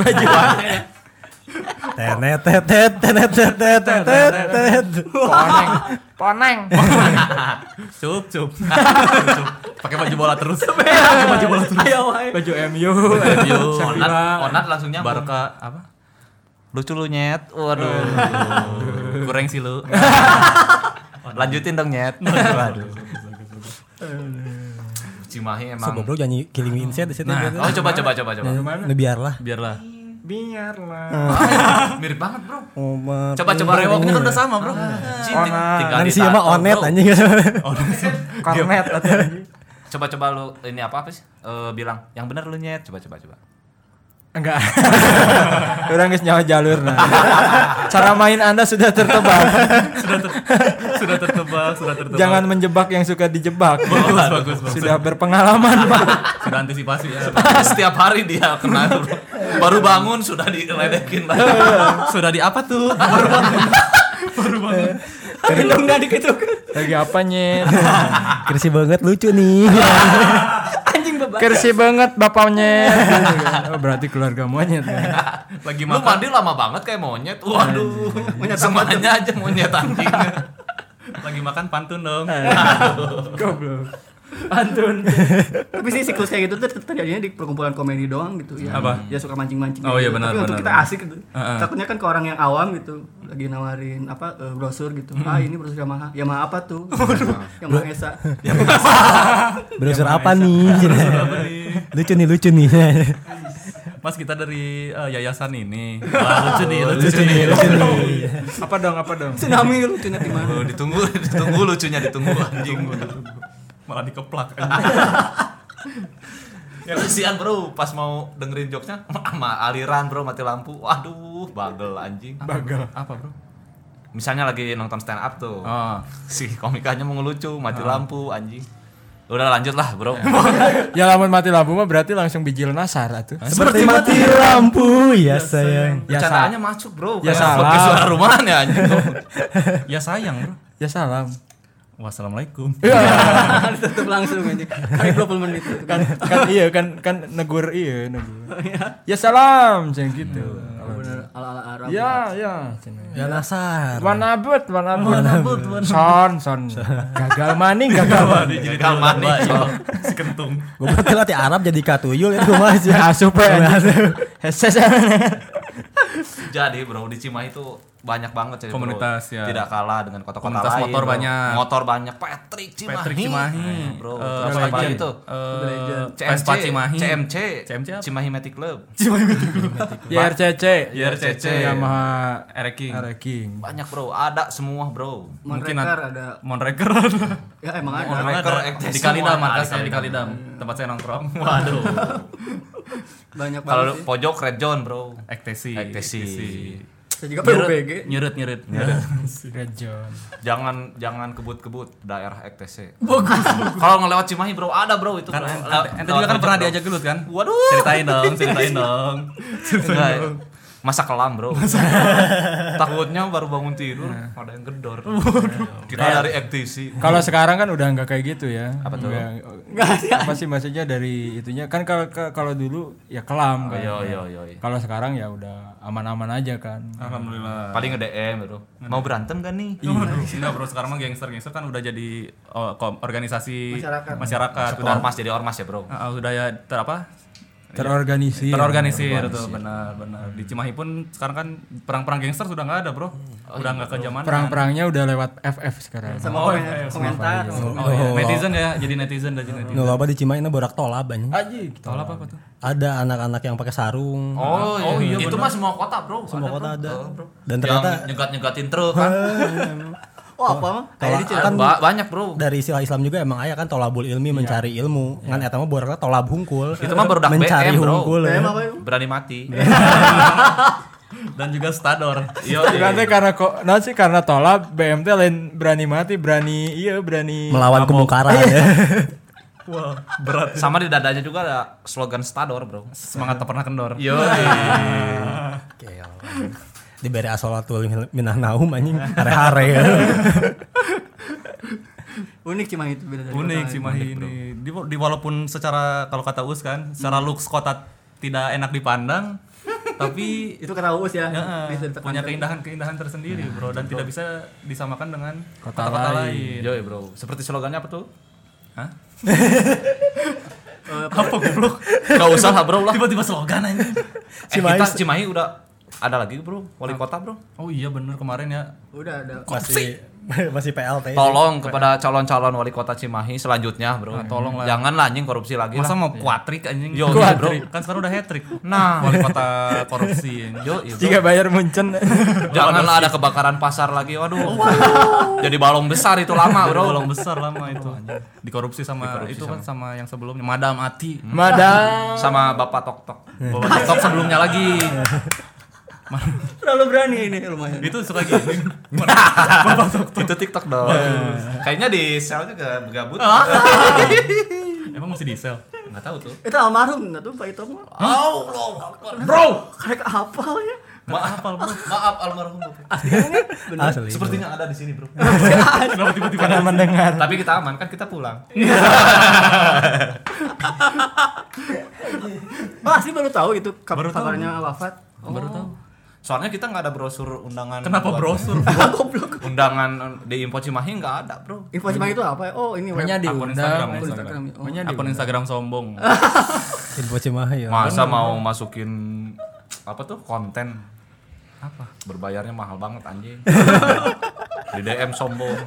[SPEAKER 7] tenet tenet tenet tenet tenet tenet.
[SPEAKER 5] poneng poneng
[SPEAKER 2] cup cup Cup. pakai baju bola terus pakai baju bola terus
[SPEAKER 5] baju MU
[SPEAKER 2] Yo, onat,
[SPEAKER 5] Shakira.
[SPEAKER 2] onat langsung nyambung Barca apa lucu lu nyet waduh kurang sih lu lanjutin dong nyet waduh Cimahi
[SPEAKER 7] So
[SPEAKER 2] emang
[SPEAKER 7] goblok jangan killing me inside di situ.
[SPEAKER 2] Nah, oh coba coba coba coba.
[SPEAKER 3] Iya.
[SPEAKER 7] Nu biarlah.
[SPEAKER 2] Biarlah.
[SPEAKER 5] biarlah
[SPEAKER 2] Mirip banget, Bro.
[SPEAKER 7] Umar.
[SPEAKER 2] Coba coba rewoknya kan udah sama, Bro. Cih, ting- tinggal
[SPEAKER 7] Kan si
[SPEAKER 2] ditato,
[SPEAKER 7] mah onet
[SPEAKER 2] bro. Iya.
[SPEAKER 7] anjing. Oh.
[SPEAKER 5] kornet atau
[SPEAKER 2] Coba coba lu ini apa apa sih? Eh, bilang yang benar lu nyet. Coba coba coba.
[SPEAKER 5] enggak orang geus nyawa jalur nah cara main anda sudah tertebak
[SPEAKER 3] Sudah tertebak, sudah tertebak.
[SPEAKER 5] jangan menjebak yang suka dijebak
[SPEAKER 3] Bagus, bagus, bagus.
[SPEAKER 5] sudah berpengalaman pak
[SPEAKER 3] Sudah antisipasi ya.
[SPEAKER 2] Setiap hari dia kena Bro. Baru bangun sudah diledekin lagi.
[SPEAKER 3] Sudah di apa tuh?
[SPEAKER 6] Gedung dari gitu.
[SPEAKER 5] lagi apa nyet
[SPEAKER 7] Kirsi banget lucu nih.
[SPEAKER 6] Anjing beban.
[SPEAKER 5] Kersi banget bapaknya. oh, berarti keluarga monyet. ya.
[SPEAKER 3] Lagi
[SPEAKER 2] Lu
[SPEAKER 3] makan,
[SPEAKER 2] mandi lama banget kayak monyet. Waduh. Semuanya aja monyet anjing.
[SPEAKER 3] lagi makan pantun dong.
[SPEAKER 7] Eh.
[SPEAKER 5] Goblok.
[SPEAKER 6] Tapi sih siklus kayak gitu tuh terjadinya di perkumpulan komedi doang gitu ya.
[SPEAKER 3] Apa?
[SPEAKER 6] Ya suka mancing-mancing.
[SPEAKER 3] Oh,
[SPEAKER 6] gitu.
[SPEAKER 3] iya, benar,
[SPEAKER 6] Tapi untuk
[SPEAKER 3] benar,
[SPEAKER 6] kita
[SPEAKER 3] benar.
[SPEAKER 6] asik gitu. Takutnya kan ke orang yang awam gitu lagi nawarin apa eh, brosur gitu. Ah ini brosur Yamaha. Yamaha apa tuh? Yamaha Esa.
[SPEAKER 7] Browser apa nih? Lucu nih, lucu nih.
[SPEAKER 3] Mas kita dari eh, yayasan ini. Wah, lucu nih, lucu,
[SPEAKER 7] Oh, Lucu
[SPEAKER 3] nih.
[SPEAKER 7] nih, lucu nih.
[SPEAKER 5] Apa dong? Apa dong?
[SPEAKER 6] Tsunami lucu nanti mana?
[SPEAKER 2] Tuh, ditunggu ditunggu lucunya ditunggu anjing.
[SPEAKER 3] Malah dikeplak.
[SPEAKER 2] Ya kasihan bro, pas mau dengerin jokesnya sama aliran bro mati lampu. Waduh, bagel anjing.
[SPEAKER 5] Bagel.
[SPEAKER 2] Apa bro? Misalnya lagi nonton stand up tuh.
[SPEAKER 5] Oh.
[SPEAKER 2] Si komikanya mau ngelucu, mati lampu anjing. Udah lanjut lah bro.
[SPEAKER 5] Ya lamun mati lampu mah berarti langsung bijil nasar atuh.
[SPEAKER 7] Seperti mati lampu ya sayang.
[SPEAKER 5] Ya
[SPEAKER 2] Bercandaannya masuk bro. Kayak
[SPEAKER 5] Ya salah.
[SPEAKER 2] podcast suara rumahan ya anjing.
[SPEAKER 3] ya sayang, Bro.
[SPEAKER 5] Ya salam.
[SPEAKER 3] Wassalamualaikum. Iya.
[SPEAKER 6] Tutup langsung anjing. Kali 20 menit gitu kan.
[SPEAKER 5] Kan iya kan kan negur iya negur. Ya salam ceng gitu.
[SPEAKER 6] Bener ala-ala Arab.
[SPEAKER 3] Iya.
[SPEAKER 5] Ya ya. cen.
[SPEAKER 7] Ya nasar.
[SPEAKER 5] Wanabut, wanabut, son, son, gagal maning, gagal maning.
[SPEAKER 2] Jadi kalmani.
[SPEAKER 3] Si kentung.
[SPEAKER 7] Gue berarti latih Arab jadi katuyul ya gue mas ya.
[SPEAKER 5] Ya super.
[SPEAKER 2] Jadi bro di Cimahi itu banyak banget sih bro.
[SPEAKER 3] Komunitas, ya.
[SPEAKER 2] Tidak kalah dengan kota-kota
[SPEAKER 3] Komunitas
[SPEAKER 2] lain,
[SPEAKER 3] motor
[SPEAKER 2] bro.
[SPEAKER 3] banyak.
[SPEAKER 2] Motor banyak. Patrick Cimahi.
[SPEAKER 3] Patrick Cimahi.
[SPEAKER 2] Nah, bro.
[SPEAKER 3] Eh,
[SPEAKER 2] Terus
[SPEAKER 3] apa
[SPEAKER 2] apa
[SPEAKER 3] lagi?
[SPEAKER 2] lagi tuh?
[SPEAKER 3] Eh,
[SPEAKER 2] CMC,
[SPEAKER 3] Vespa Cimahi.
[SPEAKER 2] CMC,
[SPEAKER 3] CMC apa?
[SPEAKER 2] Cimahi Matic Club.
[SPEAKER 3] Ya,
[SPEAKER 5] Ya, YRCC,
[SPEAKER 2] YRCC.
[SPEAKER 5] Yamaha
[SPEAKER 3] Ereking.
[SPEAKER 5] King.
[SPEAKER 2] Banyak bro, ada semua bro.
[SPEAKER 6] Monreker ada.
[SPEAKER 3] Monreker.
[SPEAKER 6] Ya emang ada.
[SPEAKER 2] Monreker,
[SPEAKER 3] Ada.
[SPEAKER 2] Ektes
[SPEAKER 3] di Kalidam,
[SPEAKER 2] semua.
[SPEAKER 3] markasnya
[SPEAKER 2] Ada
[SPEAKER 3] di
[SPEAKER 2] di
[SPEAKER 3] Kalidam. Tempat saya nongkrong. Waduh.
[SPEAKER 6] Banyak banget
[SPEAKER 2] Kalau
[SPEAKER 6] sih.
[SPEAKER 2] pojok Red John bro.
[SPEAKER 3] Ektesi.
[SPEAKER 2] Ektesi.
[SPEAKER 6] Saya juga PUBG.
[SPEAKER 3] Nyurut, nyurut. nyurut.
[SPEAKER 5] Region.
[SPEAKER 2] Jangan jangan kebut-kebut daerah ETC. Bagus. Kalau ngelewat Cimahi bro, ada bro itu.
[SPEAKER 3] Kan
[SPEAKER 2] bro.
[SPEAKER 3] ente-
[SPEAKER 2] Lewat- lewat
[SPEAKER 3] ente juga kan
[SPEAKER 2] pojok,
[SPEAKER 3] pernah
[SPEAKER 2] bro.
[SPEAKER 3] diajak gelut kan?
[SPEAKER 2] Waduh.
[SPEAKER 3] Ceritain dong, ceritain dong.
[SPEAKER 2] Enggak, Masa kelam bro. Takutnya baru bangun tidur
[SPEAKER 3] Iya.
[SPEAKER 2] ada yang gedor. Iya, Kita dari ETC.
[SPEAKER 5] Kalau sekarang kan udah nggak kayak gitu ya. Apa tuh? apa sih maksudnya dari itunya kan kalau ke- kalau dulu ya kelam kan.
[SPEAKER 3] iya.
[SPEAKER 2] Yo yo yo.
[SPEAKER 5] Kalau sekarang ya udah aman-aman aja kan.
[SPEAKER 3] Alhamdulillah. Iya.
[SPEAKER 2] Paling nge-DM bro. Mau berantem kan nih?
[SPEAKER 3] Enggak bro, sekarang mah gangster-gangster kan udah jadi oh, kom- organisasi
[SPEAKER 6] Masyarakat.
[SPEAKER 3] masyarakat. Udah,
[SPEAKER 2] Ormas jadi ormas ya bro.
[SPEAKER 3] ah, udah ya ter apa?
[SPEAKER 5] iya. Terorganisir.
[SPEAKER 3] Terorganisir tuh, benar-benar. Di Cimahi pun sekarang kan perang-perang gangster sudah nggak ada
[SPEAKER 2] Oh,
[SPEAKER 3] bro. Udah nggak
[SPEAKER 2] iya.
[SPEAKER 3] ke zaman.
[SPEAKER 5] Perang-perangnya udah lewat FF sekarang.
[SPEAKER 6] Sama komen- komentar.
[SPEAKER 3] Oh, iya. Netizen ya, jadi netizen, jadi netizen.
[SPEAKER 7] Nu loba di Cimahi na borak tolab anjing.
[SPEAKER 5] Aji,
[SPEAKER 3] Tolap apa tuh?
[SPEAKER 7] Ada anak-anak yang pakai sarung.
[SPEAKER 2] Oh, iya, itu mah semua kota bro.
[SPEAKER 7] Semua kota
[SPEAKER 2] bro.
[SPEAKER 7] ada.
[SPEAKER 2] Oh, bro.
[SPEAKER 7] Dan ternyata
[SPEAKER 2] yang nyegat nyegatin truk kan.
[SPEAKER 6] Oh, apa mah?
[SPEAKER 7] Tolak-
[SPEAKER 6] Kayak di
[SPEAKER 7] kan
[SPEAKER 2] Ba- banyak bro
[SPEAKER 7] dari istilah Islam juga emang aya kan tolabul ilmi mencari ilmu. Ngan eta mah borokna tolab hungkul.
[SPEAKER 2] Iya. Itu mah barudak
[SPEAKER 7] mencari
[SPEAKER 2] BM, bro.
[SPEAKER 7] hungkul. ya.
[SPEAKER 6] BM apa ya?
[SPEAKER 2] berani mati
[SPEAKER 3] dan juga stador
[SPEAKER 2] Yo,
[SPEAKER 5] Berarti karena kok, nah sih karena tolak BMT lain berani mati, berani iya berani.
[SPEAKER 7] Melawan kemungkaran.
[SPEAKER 2] Iya.
[SPEAKER 7] ya.
[SPEAKER 2] sama di dadanya juga ada slogan stador bro
[SPEAKER 3] semangat tak pernah kendor
[SPEAKER 2] yo
[SPEAKER 7] Keo. ya Diberi asolatul minah naum anjing hare-hare. ya.
[SPEAKER 6] Unik Cimahi itu beda dari
[SPEAKER 3] unik
[SPEAKER 6] kota lain.
[SPEAKER 3] Cimahi Iya, ini di, di walaupun secara kalau kata us kan
[SPEAKER 2] Hmm.
[SPEAKER 3] secara looks kota tidak enak dipandang tapi
[SPEAKER 6] Itu karena Uus
[SPEAKER 2] kan
[SPEAKER 6] ya.
[SPEAKER 3] ya,
[SPEAKER 6] bisa ditekan.
[SPEAKER 3] punya keindahan keindahan tersendiri
[SPEAKER 2] Nah,
[SPEAKER 3] bro dan tidak bisa disamakan dengan
[SPEAKER 5] Kota
[SPEAKER 3] kota-kota
[SPEAKER 5] lain.
[SPEAKER 3] lain
[SPEAKER 2] yo bro seperti slogannya apa tuh
[SPEAKER 3] Hah?
[SPEAKER 6] Eh,
[SPEAKER 3] apa goblok
[SPEAKER 2] Gak usah lah bro lah
[SPEAKER 3] tiba-tiba slogan aja
[SPEAKER 2] eh,
[SPEAKER 7] Cimahi
[SPEAKER 2] kita
[SPEAKER 7] se-
[SPEAKER 2] Cimahi udah ada lagi bro wali kota bro
[SPEAKER 3] oh iya bener kemarin ya
[SPEAKER 6] Udah ada.
[SPEAKER 7] Masih masih
[SPEAKER 3] Iya.
[SPEAKER 7] PLT.
[SPEAKER 2] tolong kepada calon-calon wali kota Cimahi selanjutnya bro tolong lah jangan lah anjing korupsi lagi
[SPEAKER 3] Iya. masa
[SPEAKER 2] lah
[SPEAKER 3] mau kuatrik anjing
[SPEAKER 2] Yo,
[SPEAKER 3] Iya,
[SPEAKER 2] bro.
[SPEAKER 3] kan sekarang udah hat trick
[SPEAKER 2] Nah.
[SPEAKER 3] wali kota korupsi
[SPEAKER 2] yo iya, bro.
[SPEAKER 5] Jika bayar Munchen.
[SPEAKER 2] janganlah ada kebakaran pasar lagi waduh jadi balong besar itu lama bro
[SPEAKER 3] bolong besar lama itu anjing dikorupsi sama itu kan sama yang sebelumnya madam ati
[SPEAKER 2] Hmm.
[SPEAKER 5] Madam.
[SPEAKER 2] sama bapak tok tok
[SPEAKER 3] bawa laptop sebelumnya lagi
[SPEAKER 6] Terlalu berani ini lumayan.
[SPEAKER 3] itu suka gini
[SPEAKER 2] itu tiktok dong Iya. kayaknya di selnya ke gabut
[SPEAKER 3] emang masih di sel
[SPEAKER 2] nggak tahu tuh
[SPEAKER 6] Itu almarhum nah tuh Pak Ito mah.
[SPEAKER 3] bro
[SPEAKER 6] Karek hafal ya.
[SPEAKER 2] maaf maaf almarhum
[SPEAKER 7] Asli.
[SPEAKER 2] sepertinya ada di sini bro
[SPEAKER 3] kenapa tiba-tiba ada
[SPEAKER 5] mendengar.
[SPEAKER 2] tapi kita aman kan kita pulang
[SPEAKER 6] Wah, sih Oh, baru tahu itu kab-
[SPEAKER 3] Baru tahu.
[SPEAKER 6] kabarnya wafat.
[SPEAKER 2] baru tahu soalnya kita nggak ada brosur undangan
[SPEAKER 3] Oh. kenapa
[SPEAKER 2] buat-
[SPEAKER 3] brosur
[SPEAKER 2] undangan di info Cimahi nggak ada bro
[SPEAKER 6] Info Cimahi itu apa ya? Oh, ini web.
[SPEAKER 5] Makanya
[SPEAKER 3] akun Iya.
[SPEAKER 5] diundang.
[SPEAKER 3] Instagram
[SPEAKER 6] Oh,
[SPEAKER 3] Instagram.
[SPEAKER 6] Instagram. Oh.
[SPEAKER 5] Makanya
[SPEAKER 3] akun
[SPEAKER 5] diundang.
[SPEAKER 3] Instagram sombong
[SPEAKER 7] Info Cimahi
[SPEAKER 3] iya,
[SPEAKER 7] ya.
[SPEAKER 2] masa mau masukin apa tuh konten apa berbayarnya mahal banget anjing di DM sombong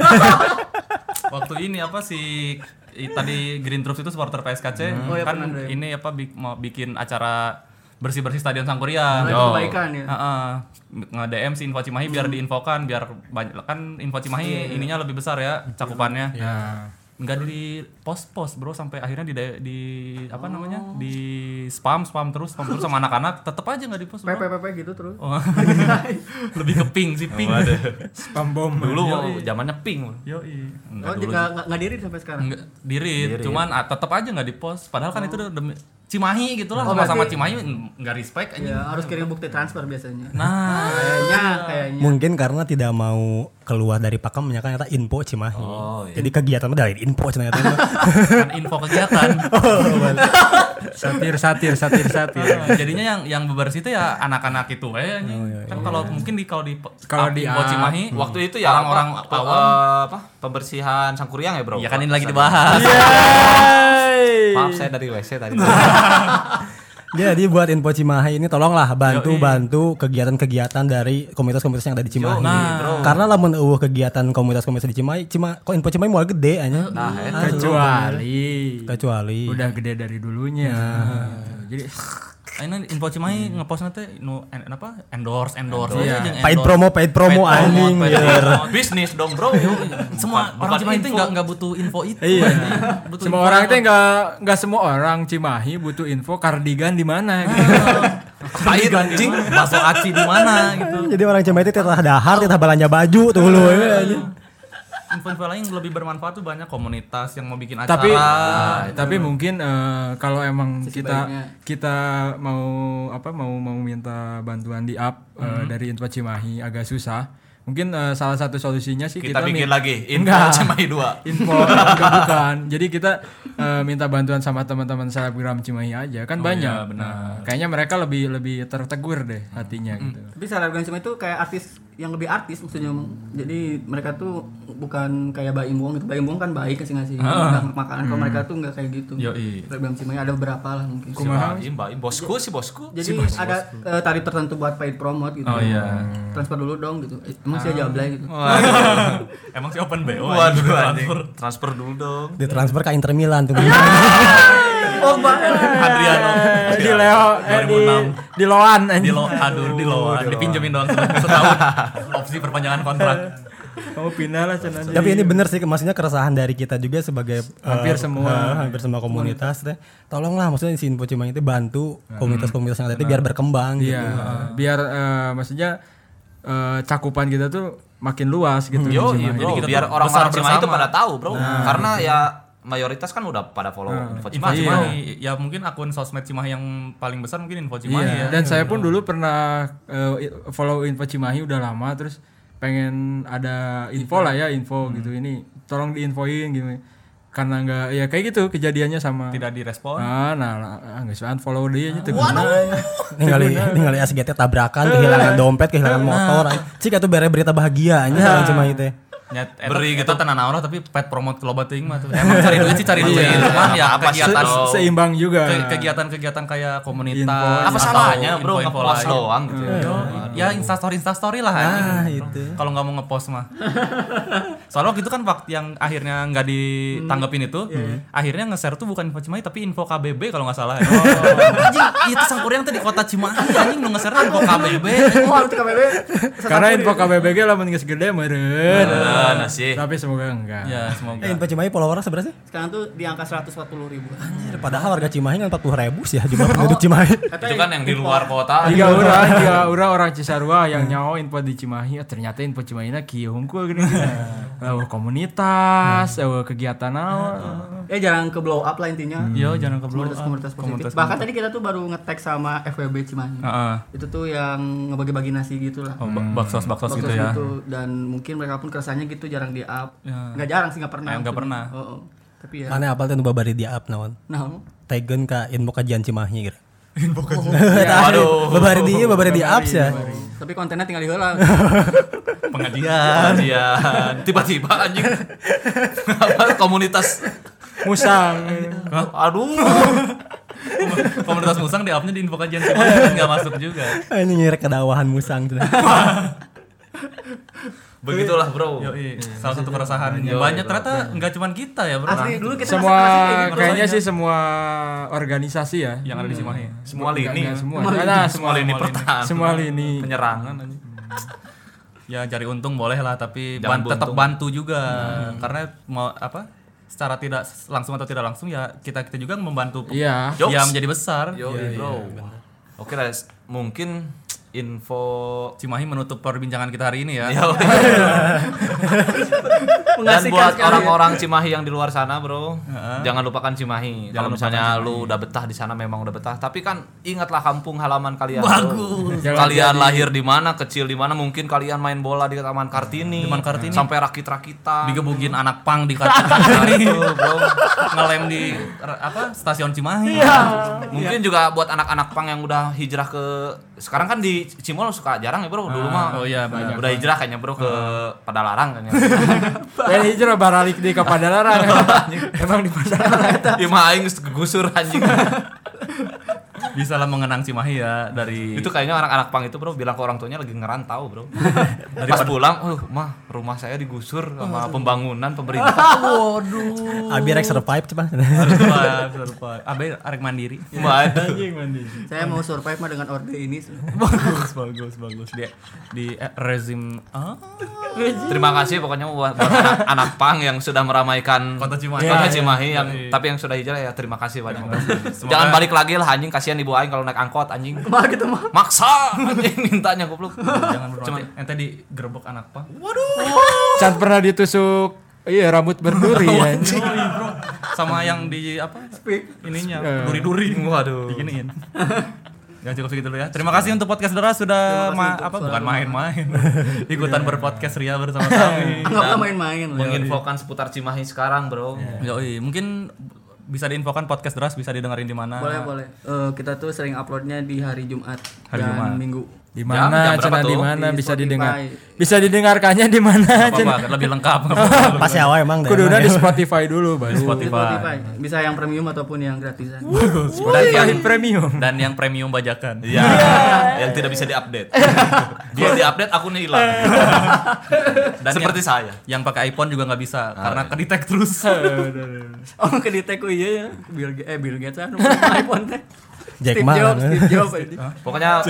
[SPEAKER 3] waktu ini apa sih i- tadi Green Troops itu supporter PSKC
[SPEAKER 2] Hmm.
[SPEAKER 6] Oh, iya,
[SPEAKER 3] kan
[SPEAKER 6] pernah, Dre.
[SPEAKER 3] ini apa bik- mau bikin acara bersih-bersih Stadion Sangkuriang
[SPEAKER 6] Mulai kebaikan ya.
[SPEAKER 3] Heeh. nge-DM si Info Cimahi biar diinfokan biar banyak kan Info Cimahi ininya lebih besar ya cakupannya.
[SPEAKER 5] Ya,
[SPEAKER 3] Enggak di pos-pos, Bro, sampai akhirnya di di- di apa namanya? di spam spam terus spam terus sama anak-anak, tetep aja nggak di post. Bro.
[SPEAKER 6] PPPP gitu terus.
[SPEAKER 3] Oh. lebih ke ping sih ping.
[SPEAKER 5] Spam bom.
[SPEAKER 2] dulu zamannya pink
[SPEAKER 3] Yoi.
[SPEAKER 6] Oh, dia nggak nggak- nggak diri sampai sekarang.
[SPEAKER 3] Enggak, di read, cuman ah, tetep aja nggak di post. Padahal kan itu udah demi- Cimahi gitu lah,
[SPEAKER 6] Oh,
[SPEAKER 3] sama-sama
[SPEAKER 6] berarti-
[SPEAKER 3] Cimahi mm, nggak respect aja.
[SPEAKER 6] Ya, harus kirim bukti transfer biasanya.
[SPEAKER 3] Nah,
[SPEAKER 6] Kayaknya, kayaknya.
[SPEAKER 7] Mungkin karena tidak mau keluar dari pakemnya kan ternyata info Cimahi. Jadi kegiatan mah dari info ternyata. mah.
[SPEAKER 3] kan info kegiatan.
[SPEAKER 5] Oh, Satir, satir, satir, satir.
[SPEAKER 3] Nah, jadinya yang yang bebersih itu ya anak-anak itu eh
[SPEAKER 5] Oh,
[SPEAKER 3] anjing. kan kalau mungkin di kalau di
[SPEAKER 5] iya, Kalau di- Ah,
[SPEAKER 3] Info Cimahi
[SPEAKER 2] waktu itu ya
[SPEAKER 3] orang-orang
[SPEAKER 2] orang apa,
[SPEAKER 3] awam
[SPEAKER 2] eh, apa pembersihan sangkuriang ya bro
[SPEAKER 3] ya kan ini lagi dibahas
[SPEAKER 5] Iya.
[SPEAKER 2] maaf saya dari wc tadi
[SPEAKER 7] Jadi buat info Cimahi ini tolonglah bantu-bantu kegiatan-kegiatan dari komunitas-komunitas yang ada di Cimahi. Karena lamun eueuh kegiatan komunitas-komunitas di Cimahi, cima kok info Cimahi mulai gede anya.
[SPEAKER 2] nah eh,
[SPEAKER 5] Kecuali
[SPEAKER 7] Kecuali
[SPEAKER 5] udah gede dari dulunya. Jadi
[SPEAKER 3] ini Info Cimahi ngepost nanti nu en, apa endorse endorse aja jeung
[SPEAKER 7] paid
[SPEAKER 3] endorse.
[SPEAKER 7] promo, paid
[SPEAKER 3] Paid promo,
[SPEAKER 7] promo anjing.
[SPEAKER 3] paid
[SPEAKER 7] ya.
[SPEAKER 3] promo.
[SPEAKER 2] bisnis dong bro
[SPEAKER 3] semua
[SPEAKER 2] Bukan-
[SPEAKER 3] orang
[SPEAKER 2] bukan
[SPEAKER 3] Cimahi itu
[SPEAKER 2] info.
[SPEAKER 3] nggak nggak butuh info itu
[SPEAKER 5] Iya.
[SPEAKER 3] anjing. butuh
[SPEAKER 5] semua
[SPEAKER 3] info
[SPEAKER 5] orang
[SPEAKER 3] yang-
[SPEAKER 5] teh nggak nggak semua orang Cimahi butuh info kardigan di mana. gitu.
[SPEAKER 3] tai anjing bakso aci di mana gitu
[SPEAKER 7] Jadi orang Cimahi itu telah dahar, telah belanja baju tuh lu. ya, anjing.
[SPEAKER 3] info-info lain yang lebih bermanfaat tuh banyak komunitas yang mau bikin acara
[SPEAKER 5] tapi tapi mungkin eh, kalau emang kita
[SPEAKER 6] baiknya.
[SPEAKER 5] kita mau apa mau mau minta bantuan di up eh, dari Info Cimahi agak susah. Mungkin eh, salah satu solusinya sih
[SPEAKER 2] kita
[SPEAKER 5] kita,
[SPEAKER 2] bikin
[SPEAKER 5] min-
[SPEAKER 2] lagi info
[SPEAKER 5] Enggak. Iya.
[SPEAKER 2] Cimahi dua
[SPEAKER 5] info enggak bukan. Jadi kita eh, minta bantuan sama teman-teman selebgram Cimahi aja kan banyak. Nah, kayaknya mereka lebih lebih tertegur deh hatinya gitu.
[SPEAKER 6] Tapi selebgram Cimahi itu kayak artis yang lebih artis maksudnya. Jadi mereka tuh bukan kayak Baim Wong itu Baim Wong kan baik kasih ngasih makanan kalau mereka tuh nggak kayak gitu.
[SPEAKER 3] Ah. Hmm. Yoi.
[SPEAKER 6] Selebgram Cimahi ada beberapa lah mungkin.
[SPEAKER 5] Kumaha?
[SPEAKER 2] Baim, Baim. bosku sih bosku
[SPEAKER 6] Jadi ada eh, tarif tertentu buat paid promote gitu.
[SPEAKER 3] Oh, iya. Ah. Oh.
[SPEAKER 6] Transfer dulu dong gitu. Eh, Emang sih aja ablay gitu.
[SPEAKER 3] emang sih open bo
[SPEAKER 2] waduh
[SPEAKER 3] anjing.
[SPEAKER 2] transfer transfer dulu dong
[SPEAKER 7] Ditransfer ke Inter Milan tuh.
[SPEAKER 6] Oh, bahaya.
[SPEAKER 3] Adriano Iya.
[SPEAKER 5] Di Leo eh, di, di Loan anjing.
[SPEAKER 3] di lo aduh di loan dipinjemin doang setahun opsi perpanjangan kontrak
[SPEAKER 5] Kamu Oh, pindah lah cenah.
[SPEAKER 7] Tapi ini bener sih maksudnya keresahan dari kita juga sebagai eh,
[SPEAKER 5] Hampir semua.
[SPEAKER 7] eh, Iya. hampir semua komunitas teh. Tolonglah maksudnya si info Cimahi itu bantu komunitas-komunitas yang ada itu biar berkembang
[SPEAKER 5] Iya,
[SPEAKER 7] gitu.
[SPEAKER 5] biar eh, maksudnya eh, cakupan kita tuh makin luas gitu.
[SPEAKER 2] Yo, Iya,
[SPEAKER 5] Cimahi.
[SPEAKER 2] bro, biar orang-orang Cimahi itu pada tahu, bro.
[SPEAKER 3] Nah.
[SPEAKER 2] Karena ya mayoritas kan udah pada follow Info
[SPEAKER 3] Info
[SPEAKER 2] Cimahi.
[SPEAKER 3] Cimahi. Nah, Ya mungkin akun sosmed Cimahi yang paling besar mungkin Info Cimahi
[SPEAKER 5] Iya,
[SPEAKER 3] ya.
[SPEAKER 5] dan saya pun dulu pernah eh, i- follow info Cimahi udah lama terus pengen ada info lah ya info
[SPEAKER 3] Hmm.
[SPEAKER 5] gitu ini tolong diinfoin gitu karena nggak ya kayak gitu kejadiannya sama
[SPEAKER 3] Tidak direspon.
[SPEAKER 5] ah nah lah, ah, nggak suan follow dia aja tuh Nah,
[SPEAKER 7] Ningali ningali SGT tabrakan, kehilangan dompet, kehilangan motor. Cik itu bere berita bahagia anjing orang Cimahi teh.
[SPEAKER 3] Nyat, beri gitu tenan orang tapi pet promote loba teuing mah tuh. Emang cari duit sih cari duit
[SPEAKER 2] Iya.
[SPEAKER 3] cuman ya
[SPEAKER 2] Apa-apa sih,
[SPEAKER 3] kegiatan
[SPEAKER 2] bro.
[SPEAKER 5] seimbang juga
[SPEAKER 3] ke- kegiatan-kegiatan kayak komunitas
[SPEAKER 2] Apa
[SPEAKER 3] atau
[SPEAKER 2] salahnya, bro,
[SPEAKER 3] info-info
[SPEAKER 2] ngepost
[SPEAKER 3] lain.
[SPEAKER 2] doang gitu.
[SPEAKER 3] Yo, ya instastory instastory lah
[SPEAKER 7] Ah,
[SPEAKER 3] anjing.
[SPEAKER 7] itu.
[SPEAKER 3] kalau nggak mau ngepost mah soalnya waktu itu kan waktu yang akhirnya nggak ditanggepin itu akhirnya nge-share tuh bukan info Cimahi tapi info KBB kalau nggak salah ya. anjing itu sangkuriang tuh di kota Cimahi anjing nu nge-share tuh info KBB
[SPEAKER 6] Wah, itu KBB.
[SPEAKER 5] karena info KBBG lah mending segede meren
[SPEAKER 2] Nah, sih.
[SPEAKER 5] tapi semoga enggak
[SPEAKER 3] ya
[SPEAKER 7] Eh,
[SPEAKER 3] semoga
[SPEAKER 7] info Cimahi follower seberapa sih?
[SPEAKER 6] Sekarang tuh di angka 140 ribu.
[SPEAKER 7] Padahal warga Cimahi kan 40 ribu sih ya jumlah penduduk Cimahi.
[SPEAKER 2] Itu kan yang di luar kota.
[SPEAKER 5] tiga orang tiga orang orang Cisarua yang nyawa info di Cimahi ah, ternyata info Cimahi na kieu hungkul gini
[SPEAKER 3] Hmm.
[SPEAKER 5] Eueuh, komunitas eueuh, kegiatan naon
[SPEAKER 6] Ya jarang ke blow up lah intinya.
[SPEAKER 3] yo jangan Iya, ke blow up.
[SPEAKER 6] Komunitas-komunitas positif. Bahkan tadi kita tuh baru ngetek sama FWB Cimahi.
[SPEAKER 3] Heeh.
[SPEAKER 6] Itu tuh yang ngebagi-bagi nasi gitu lah.
[SPEAKER 3] Ah, Oh, ba- baksos-baksos gitu
[SPEAKER 6] Waktu
[SPEAKER 3] ya.
[SPEAKER 6] itu. dan mungkin mereka pun keresahannya gitu jarang di up.
[SPEAKER 3] Ya.
[SPEAKER 6] Enggak jarang sih enggak pernah.
[SPEAKER 3] Eh, nggak pernah.
[SPEAKER 6] Oh, oh. Tapi ya.
[SPEAKER 7] Mana apal teh nu babari dia up naon?
[SPEAKER 6] Nah,
[SPEAKER 7] Tegen ka info kajian Cimahi gitu. Waduh. Babari dia babari dia up sih. ya.
[SPEAKER 6] tapi kontennya tinggal di heula.
[SPEAKER 2] Pengajian. Pengajian. Tiba-tiba anjing. Apa, Komunitas.
[SPEAKER 5] musang
[SPEAKER 2] Aduh.
[SPEAKER 3] komunitas musang di upnya di info kajian Cimahi nggak masuk juga
[SPEAKER 7] Ini nyerek kedawahan musang cenah.
[SPEAKER 2] Begitulah, bro.
[SPEAKER 3] yo salah satu keresahan banyak ternyata nggak cuma kita ya bro
[SPEAKER 6] Asli dulu kita
[SPEAKER 5] semua
[SPEAKER 6] ngerasa kerasnya kayak gitu.
[SPEAKER 5] kayaknya sih semua organisasi ya
[SPEAKER 3] yang ada di Cimahi
[SPEAKER 2] Semua lini.
[SPEAKER 5] Enggak semua
[SPEAKER 6] Semua
[SPEAKER 5] Karena
[SPEAKER 2] Semua
[SPEAKER 5] semua
[SPEAKER 2] lini pertahanan.
[SPEAKER 5] semua lini
[SPEAKER 2] Penyerangan anjing.
[SPEAKER 3] ya cari untung boleh lah tapi
[SPEAKER 2] Jangan
[SPEAKER 3] ban- tetap
[SPEAKER 2] buntung. Hmm.
[SPEAKER 3] bantu juga karena mau apa secara tidak s- langsung atau tidak langsung ya kita kita juga membantu pe-
[SPEAKER 5] iya
[SPEAKER 2] Jokes.
[SPEAKER 3] ya menjadi besar
[SPEAKER 2] Yo, bro. Oke lah, s- mungkin info
[SPEAKER 3] Cimahi menutup perbincangan kita hari ini ya
[SPEAKER 2] Yo. Dan buat orang-orang Cimahi yang di luar sana, Bro, jangan lupakan Cimahi. Kalau misalnya lu udah betah di sana memang udah betah, tapi kan ingatlah kampung halaman kalian. Bagus. Kalian lahir di mana, kecil di mana, mungkin kalian main bola di Taman Kartini, Taman Kartini. sampai rakit-rakitan. Nah,
[SPEAKER 3] digebugin anak pang di kacang itu bro ngelem di r- apa stasiun Cimahi
[SPEAKER 2] Iya. Mungkin juga buat anak-anak pang yang udah hijrah ke sekarang kan di Cimol suka jarang ya, Bro. Dulu mah
[SPEAKER 3] oh iya, benar.
[SPEAKER 2] udah hijrah kayaknya, Bro, ke Padalarang kayaknya.
[SPEAKER 5] dan hijrah Eh, baralik di Kapadalarang emang di Padalarang
[SPEAKER 2] Ya mah aing gusur anjing.
[SPEAKER 3] bisa lah mengenang Cimahi ya dari
[SPEAKER 2] Itu kayaknya anak-anak pang itu bro bilang ke orang tuanya lagi ngerantau bro. Pas pulang, oh mah rumah saya digusur sama pembangunan pemerintah.
[SPEAKER 7] Abi rek survive cenah.
[SPEAKER 3] survive survive abe arek mandiri
[SPEAKER 2] Mah, ada.
[SPEAKER 6] Saya mau survive mah dengan orde ini.
[SPEAKER 3] bagus bagus bagus dia di eh, rezim ah
[SPEAKER 2] Terima kasih pokoknya buat, buat anak, anak pang yang sudah meramaikan
[SPEAKER 3] Kota
[SPEAKER 2] Kota
[SPEAKER 3] Cimahi. Iya, iya,
[SPEAKER 2] Cimahi yang
[SPEAKER 3] iya.
[SPEAKER 2] tapi yang sudah hijrah ya terima kasih banyak. Jangan balik lagi lah anjing kasihan ibu aing kalau naik angkot anjing.
[SPEAKER 6] Mah gitu mah.
[SPEAKER 2] Maksa anjing mintanya goblok.
[SPEAKER 3] jangan cuma ente di gerbek anak pang
[SPEAKER 5] Can pernah ditusuk iya rambut berduri ya
[SPEAKER 3] sama yang di apa ininya duri-duri waduh diginiin Ya cukup segitu dulu ya. Terima kasih untuk podcast Dora sudah ma- apa bukan main-main. Ikutan berpodcast Ria bersama kami.
[SPEAKER 6] Enggak main-main. lah.
[SPEAKER 2] Menginfokan seputar Cimahi sekarang bro.
[SPEAKER 3] Iya. Yoi, mungkin bisa diinfokan podcast Deras bisa didengerin di mana.
[SPEAKER 6] Boleh, boleh. Eh, kita tuh sering uploadnya di hari Jumat
[SPEAKER 3] Hari
[SPEAKER 6] dan
[SPEAKER 3] Jumat.
[SPEAKER 6] Minggu.
[SPEAKER 5] di
[SPEAKER 2] Jam- jam
[SPEAKER 5] mana
[SPEAKER 2] berapa
[SPEAKER 5] cina
[SPEAKER 2] tuh?
[SPEAKER 5] di mana
[SPEAKER 6] Di
[SPEAKER 5] bisa
[SPEAKER 6] Spotify.
[SPEAKER 5] didengar bisa didengarkannya di mana
[SPEAKER 3] Apa
[SPEAKER 5] cina
[SPEAKER 3] apa lebih lengkap.
[SPEAKER 7] Pas awal emang deh.
[SPEAKER 5] kuduna
[SPEAKER 7] emang
[SPEAKER 5] di
[SPEAKER 7] ya.
[SPEAKER 5] Spotify dulu baru
[SPEAKER 6] Di
[SPEAKER 3] Spotify.
[SPEAKER 6] Spotify. Bisa yang premium ataupun yang gratisan.
[SPEAKER 3] Dan yang
[SPEAKER 5] premium
[SPEAKER 3] dan yang premium bajakan. Iya.
[SPEAKER 2] Ya,
[SPEAKER 6] Iya.
[SPEAKER 2] yang tidak bisa diupdate. Dia diupdate akunnya hilang. Dan Seperti saya. Ah,
[SPEAKER 3] Iya.
[SPEAKER 2] iya.
[SPEAKER 3] Yang pakai iPhone juga nggak bisa karena kedetek
[SPEAKER 6] Iya.
[SPEAKER 3] terus.
[SPEAKER 6] Oh, ke di teko iya ya. Bill Ga- eh Bill Gates anu punya ah, iPhone teh.
[SPEAKER 7] Jack
[SPEAKER 6] Steve
[SPEAKER 7] Ma.
[SPEAKER 6] Jobs, Steve Jobs.
[SPEAKER 2] Pokoknya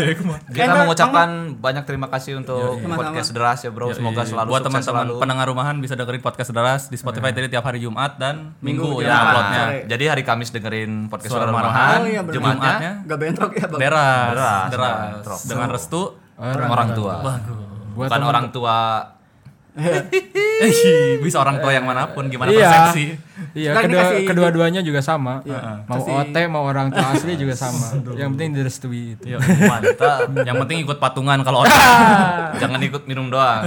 [SPEAKER 2] kita
[SPEAKER 6] Enak,
[SPEAKER 2] mengucapkan banyak terima kasih
[SPEAKER 3] Iya,
[SPEAKER 2] untuk
[SPEAKER 6] Sama-sama.
[SPEAKER 2] podcast Deras ya bro. Semoga selalu
[SPEAKER 3] buat
[SPEAKER 2] sukses
[SPEAKER 3] teman-teman
[SPEAKER 2] selalu. Iya.
[SPEAKER 3] pendengar rumahan bisa dengerin podcast deras di Spotify tadi tiap hari Jumat dan Minggu,
[SPEAKER 6] Minggu,
[SPEAKER 3] ya
[SPEAKER 6] ya.
[SPEAKER 3] uploadnya.
[SPEAKER 6] Sore.
[SPEAKER 2] Jadi hari Kamis dengerin podcast
[SPEAKER 3] Suara
[SPEAKER 2] Suara
[SPEAKER 3] Rumahan.
[SPEAKER 2] Rumahan,
[SPEAKER 6] Oh, iya, benar.
[SPEAKER 2] Jumatnya
[SPEAKER 6] Gak bentrok ya bang.
[SPEAKER 3] Deras,
[SPEAKER 2] Deras,
[SPEAKER 3] deras,
[SPEAKER 2] deras.
[SPEAKER 3] dengan restu
[SPEAKER 2] orang, tua.
[SPEAKER 5] Buat
[SPEAKER 2] Bukan
[SPEAKER 5] teman-
[SPEAKER 2] orang tua. bisa orang tua yang manapun gimana
[SPEAKER 5] Iya.
[SPEAKER 2] persepsi.
[SPEAKER 6] Sekarang ini
[SPEAKER 5] Iya, kedua,
[SPEAKER 6] kasih-
[SPEAKER 5] kedua-duanya juga sama. Mau
[SPEAKER 6] Kasih-
[SPEAKER 5] OT, mau orang tua asli juga sama. Yang penting direstui itu.
[SPEAKER 3] Yo, mantap. Yang penting ikut patungan kalau orang jangan ikut minum doang.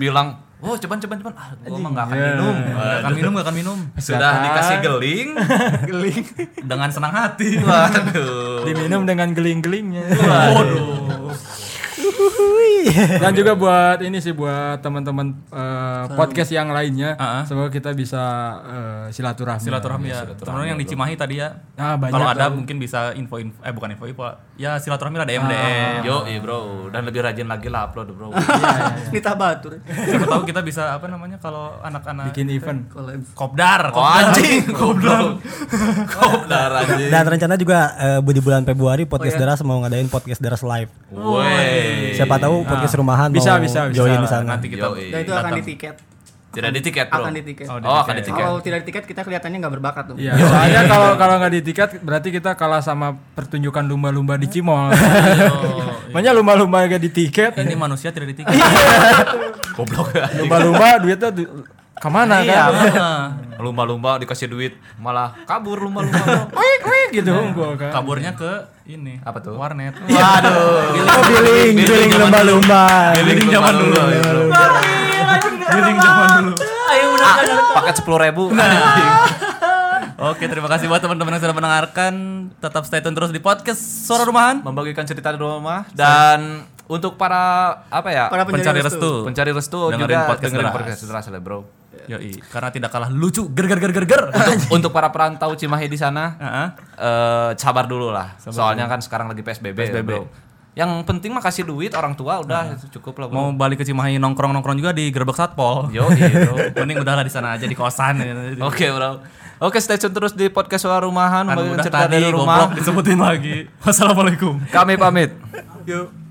[SPEAKER 2] Bilang, "Oh, ceban ceban ceban. Ah, gua mah nggak akan minum. Nggak akan minum, nggak akan minum." Sudah
[SPEAKER 5] Silakan.
[SPEAKER 2] dikasih geling, geling dengan senang hati. Waduh.
[SPEAKER 5] Diminum dengan geling-gelingnya.
[SPEAKER 2] Waduh.
[SPEAKER 5] Dan juga buat ini sih buat teman-teman eh, podcast yang lainnya,
[SPEAKER 3] Ah, ah.
[SPEAKER 5] semoga kita bisa eh, silaturahmi.
[SPEAKER 3] Silaturahmi ya. Teman yang di Cimahi tadi ya.
[SPEAKER 5] Ah, banyak
[SPEAKER 3] Kalau ada
[SPEAKER 5] tahu.
[SPEAKER 3] mungkin bisa info-info eh bukan info-info. Ya silaturahmi lah DM DM.
[SPEAKER 2] Yo, iya bro, dan lebih rajin lagi lah upload bro.
[SPEAKER 6] Nita Batur.
[SPEAKER 3] Siapa tahu kita bisa apa namanya kalau anak-anak
[SPEAKER 5] bikin event.
[SPEAKER 6] Collab.
[SPEAKER 3] kopdar,
[SPEAKER 2] Oh,
[SPEAKER 3] kopdar.
[SPEAKER 2] anjing, goblok. Kopdar anjing.
[SPEAKER 7] Dan rencana juga eh, di bulan Februari podcast Deras mau ngadain podcast Deras live.
[SPEAKER 2] Woi.
[SPEAKER 5] Iya,
[SPEAKER 7] Siapa tahu podcast rumahan
[SPEAKER 5] Ah. Bisa,
[SPEAKER 7] mau
[SPEAKER 5] bisa, bisa
[SPEAKER 7] join
[SPEAKER 5] lah.
[SPEAKER 7] di sana.
[SPEAKER 3] Nanti kita
[SPEAKER 2] Yoi.
[SPEAKER 6] Dan Nah, itu akan
[SPEAKER 3] datang.
[SPEAKER 6] di tiket.
[SPEAKER 2] Tidak di tiket bro.
[SPEAKER 6] Akan di tiket.
[SPEAKER 3] Oh, di
[SPEAKER 2] Oh, akan di tiket.
[SPEAKER 6] Kalau tidak di tiket kita kelihatannya nggak berbakat tuh.
[SPEAKER 5] Iya. Soalnya kalau kalau nggak ditiket berarti kita kalah sama pertunjukan lumba-lumba di Cimol. Makanya lumba-lumba gak ditiket,
[SPEAKER 3] Ini manusia tidak ditikung.
[SPEAKER 2] Goblok.
[SPEAKER 5] lumba-lumba duitnya di, kemana
[SPEAKER 2] Iya,
[SPEAKER 5] kan?
[SPEAKER 2] bener. lumba-lumba dikasih duit malah kabur lumba-lumba. bro. Iya.
[SPEAKER 5] Wih, wih, gitu unggul kan.
[SPEAKER 3] Kaburnya ke ini.
[SPEAKER 2] Apa tuh?
[SPEAKER 3] Warnet.
[SPEAKER 2] Waduh.
[SPEAKER 7] Oh, billing, billing lumba-lumba.
[SPEAKER 2] Billing zaman dulu. iya,
[SPEAKER 3] Giring iya. zaman dulu.
[SPEAKER 2] Ah, Paket sepuluh ribu.
[SPEAKER 3] Oke, terima kasih buat teman-teman yang sudah mendengarkan. Tetap stay tune terus di podcast Suara Rumahan.
[SPEAKER 2] Membagikan cerita di rumah dan untuk para apa ya?
[SPEAKER 6] Para pencari
[SPEAKER 3] Pencari
[SPEAKER 6] restu.
[SPEAKER 3] restu.
[SPEAKER 2] pencari restu
[SPEAKER 3] Dengerin
[SPEAKER 2] juga
[SPEAKER 3] podcast
[SPEAKER 2] dengerin
[SPEAKER 3] Deras.
[SPEAKER 2] podcast Deras lah, bro.
[SPEAKER 3] Yoi, karena tidak kalah lucu. Ger ger ger ger ger.
[SPEAKER 2] Untuk para perantau Cimahi di sana,
[SPEAKER 3] Heeh.
[SPEAKER 2] eh, sabar dulu lah. Soalnya kan sekarang lagi PSBB, ya,
[SPEAKER 3] PSBB.
[SPEAKER 2] bro. Yang penting mah kasih duit orang tua udah itu cukup lah, bro.
[SPEAKER 3] Mau balik ke Cimahi nongkrong-nongkrong juga di Gerbek Satpol.
[SPEAKER 2] Yo, iya, bro.
[SPEAKER 3] Mending udahlah di sana aja di kosan. Oke.
[SPEAKER 2] Oke, bro. Oke, stay tune terus di podcast Suara Rumahan,
[SPEAKER 3] Kan
[SPEAKER 2] membagikan
[SPEAKER 3] udah
[SPEAKER 2] cerita
[SPEAKER 3] tadi
[SPEAKER 2] dari
[SPEAKER 3] goblok
[SPEAKER 2] rumah.
[SPEAKER 3] disebutin lagi. Wassalamualaikum.
[SPEAKER 2] Kami pamit.
[SPEAKER 6] Yuk.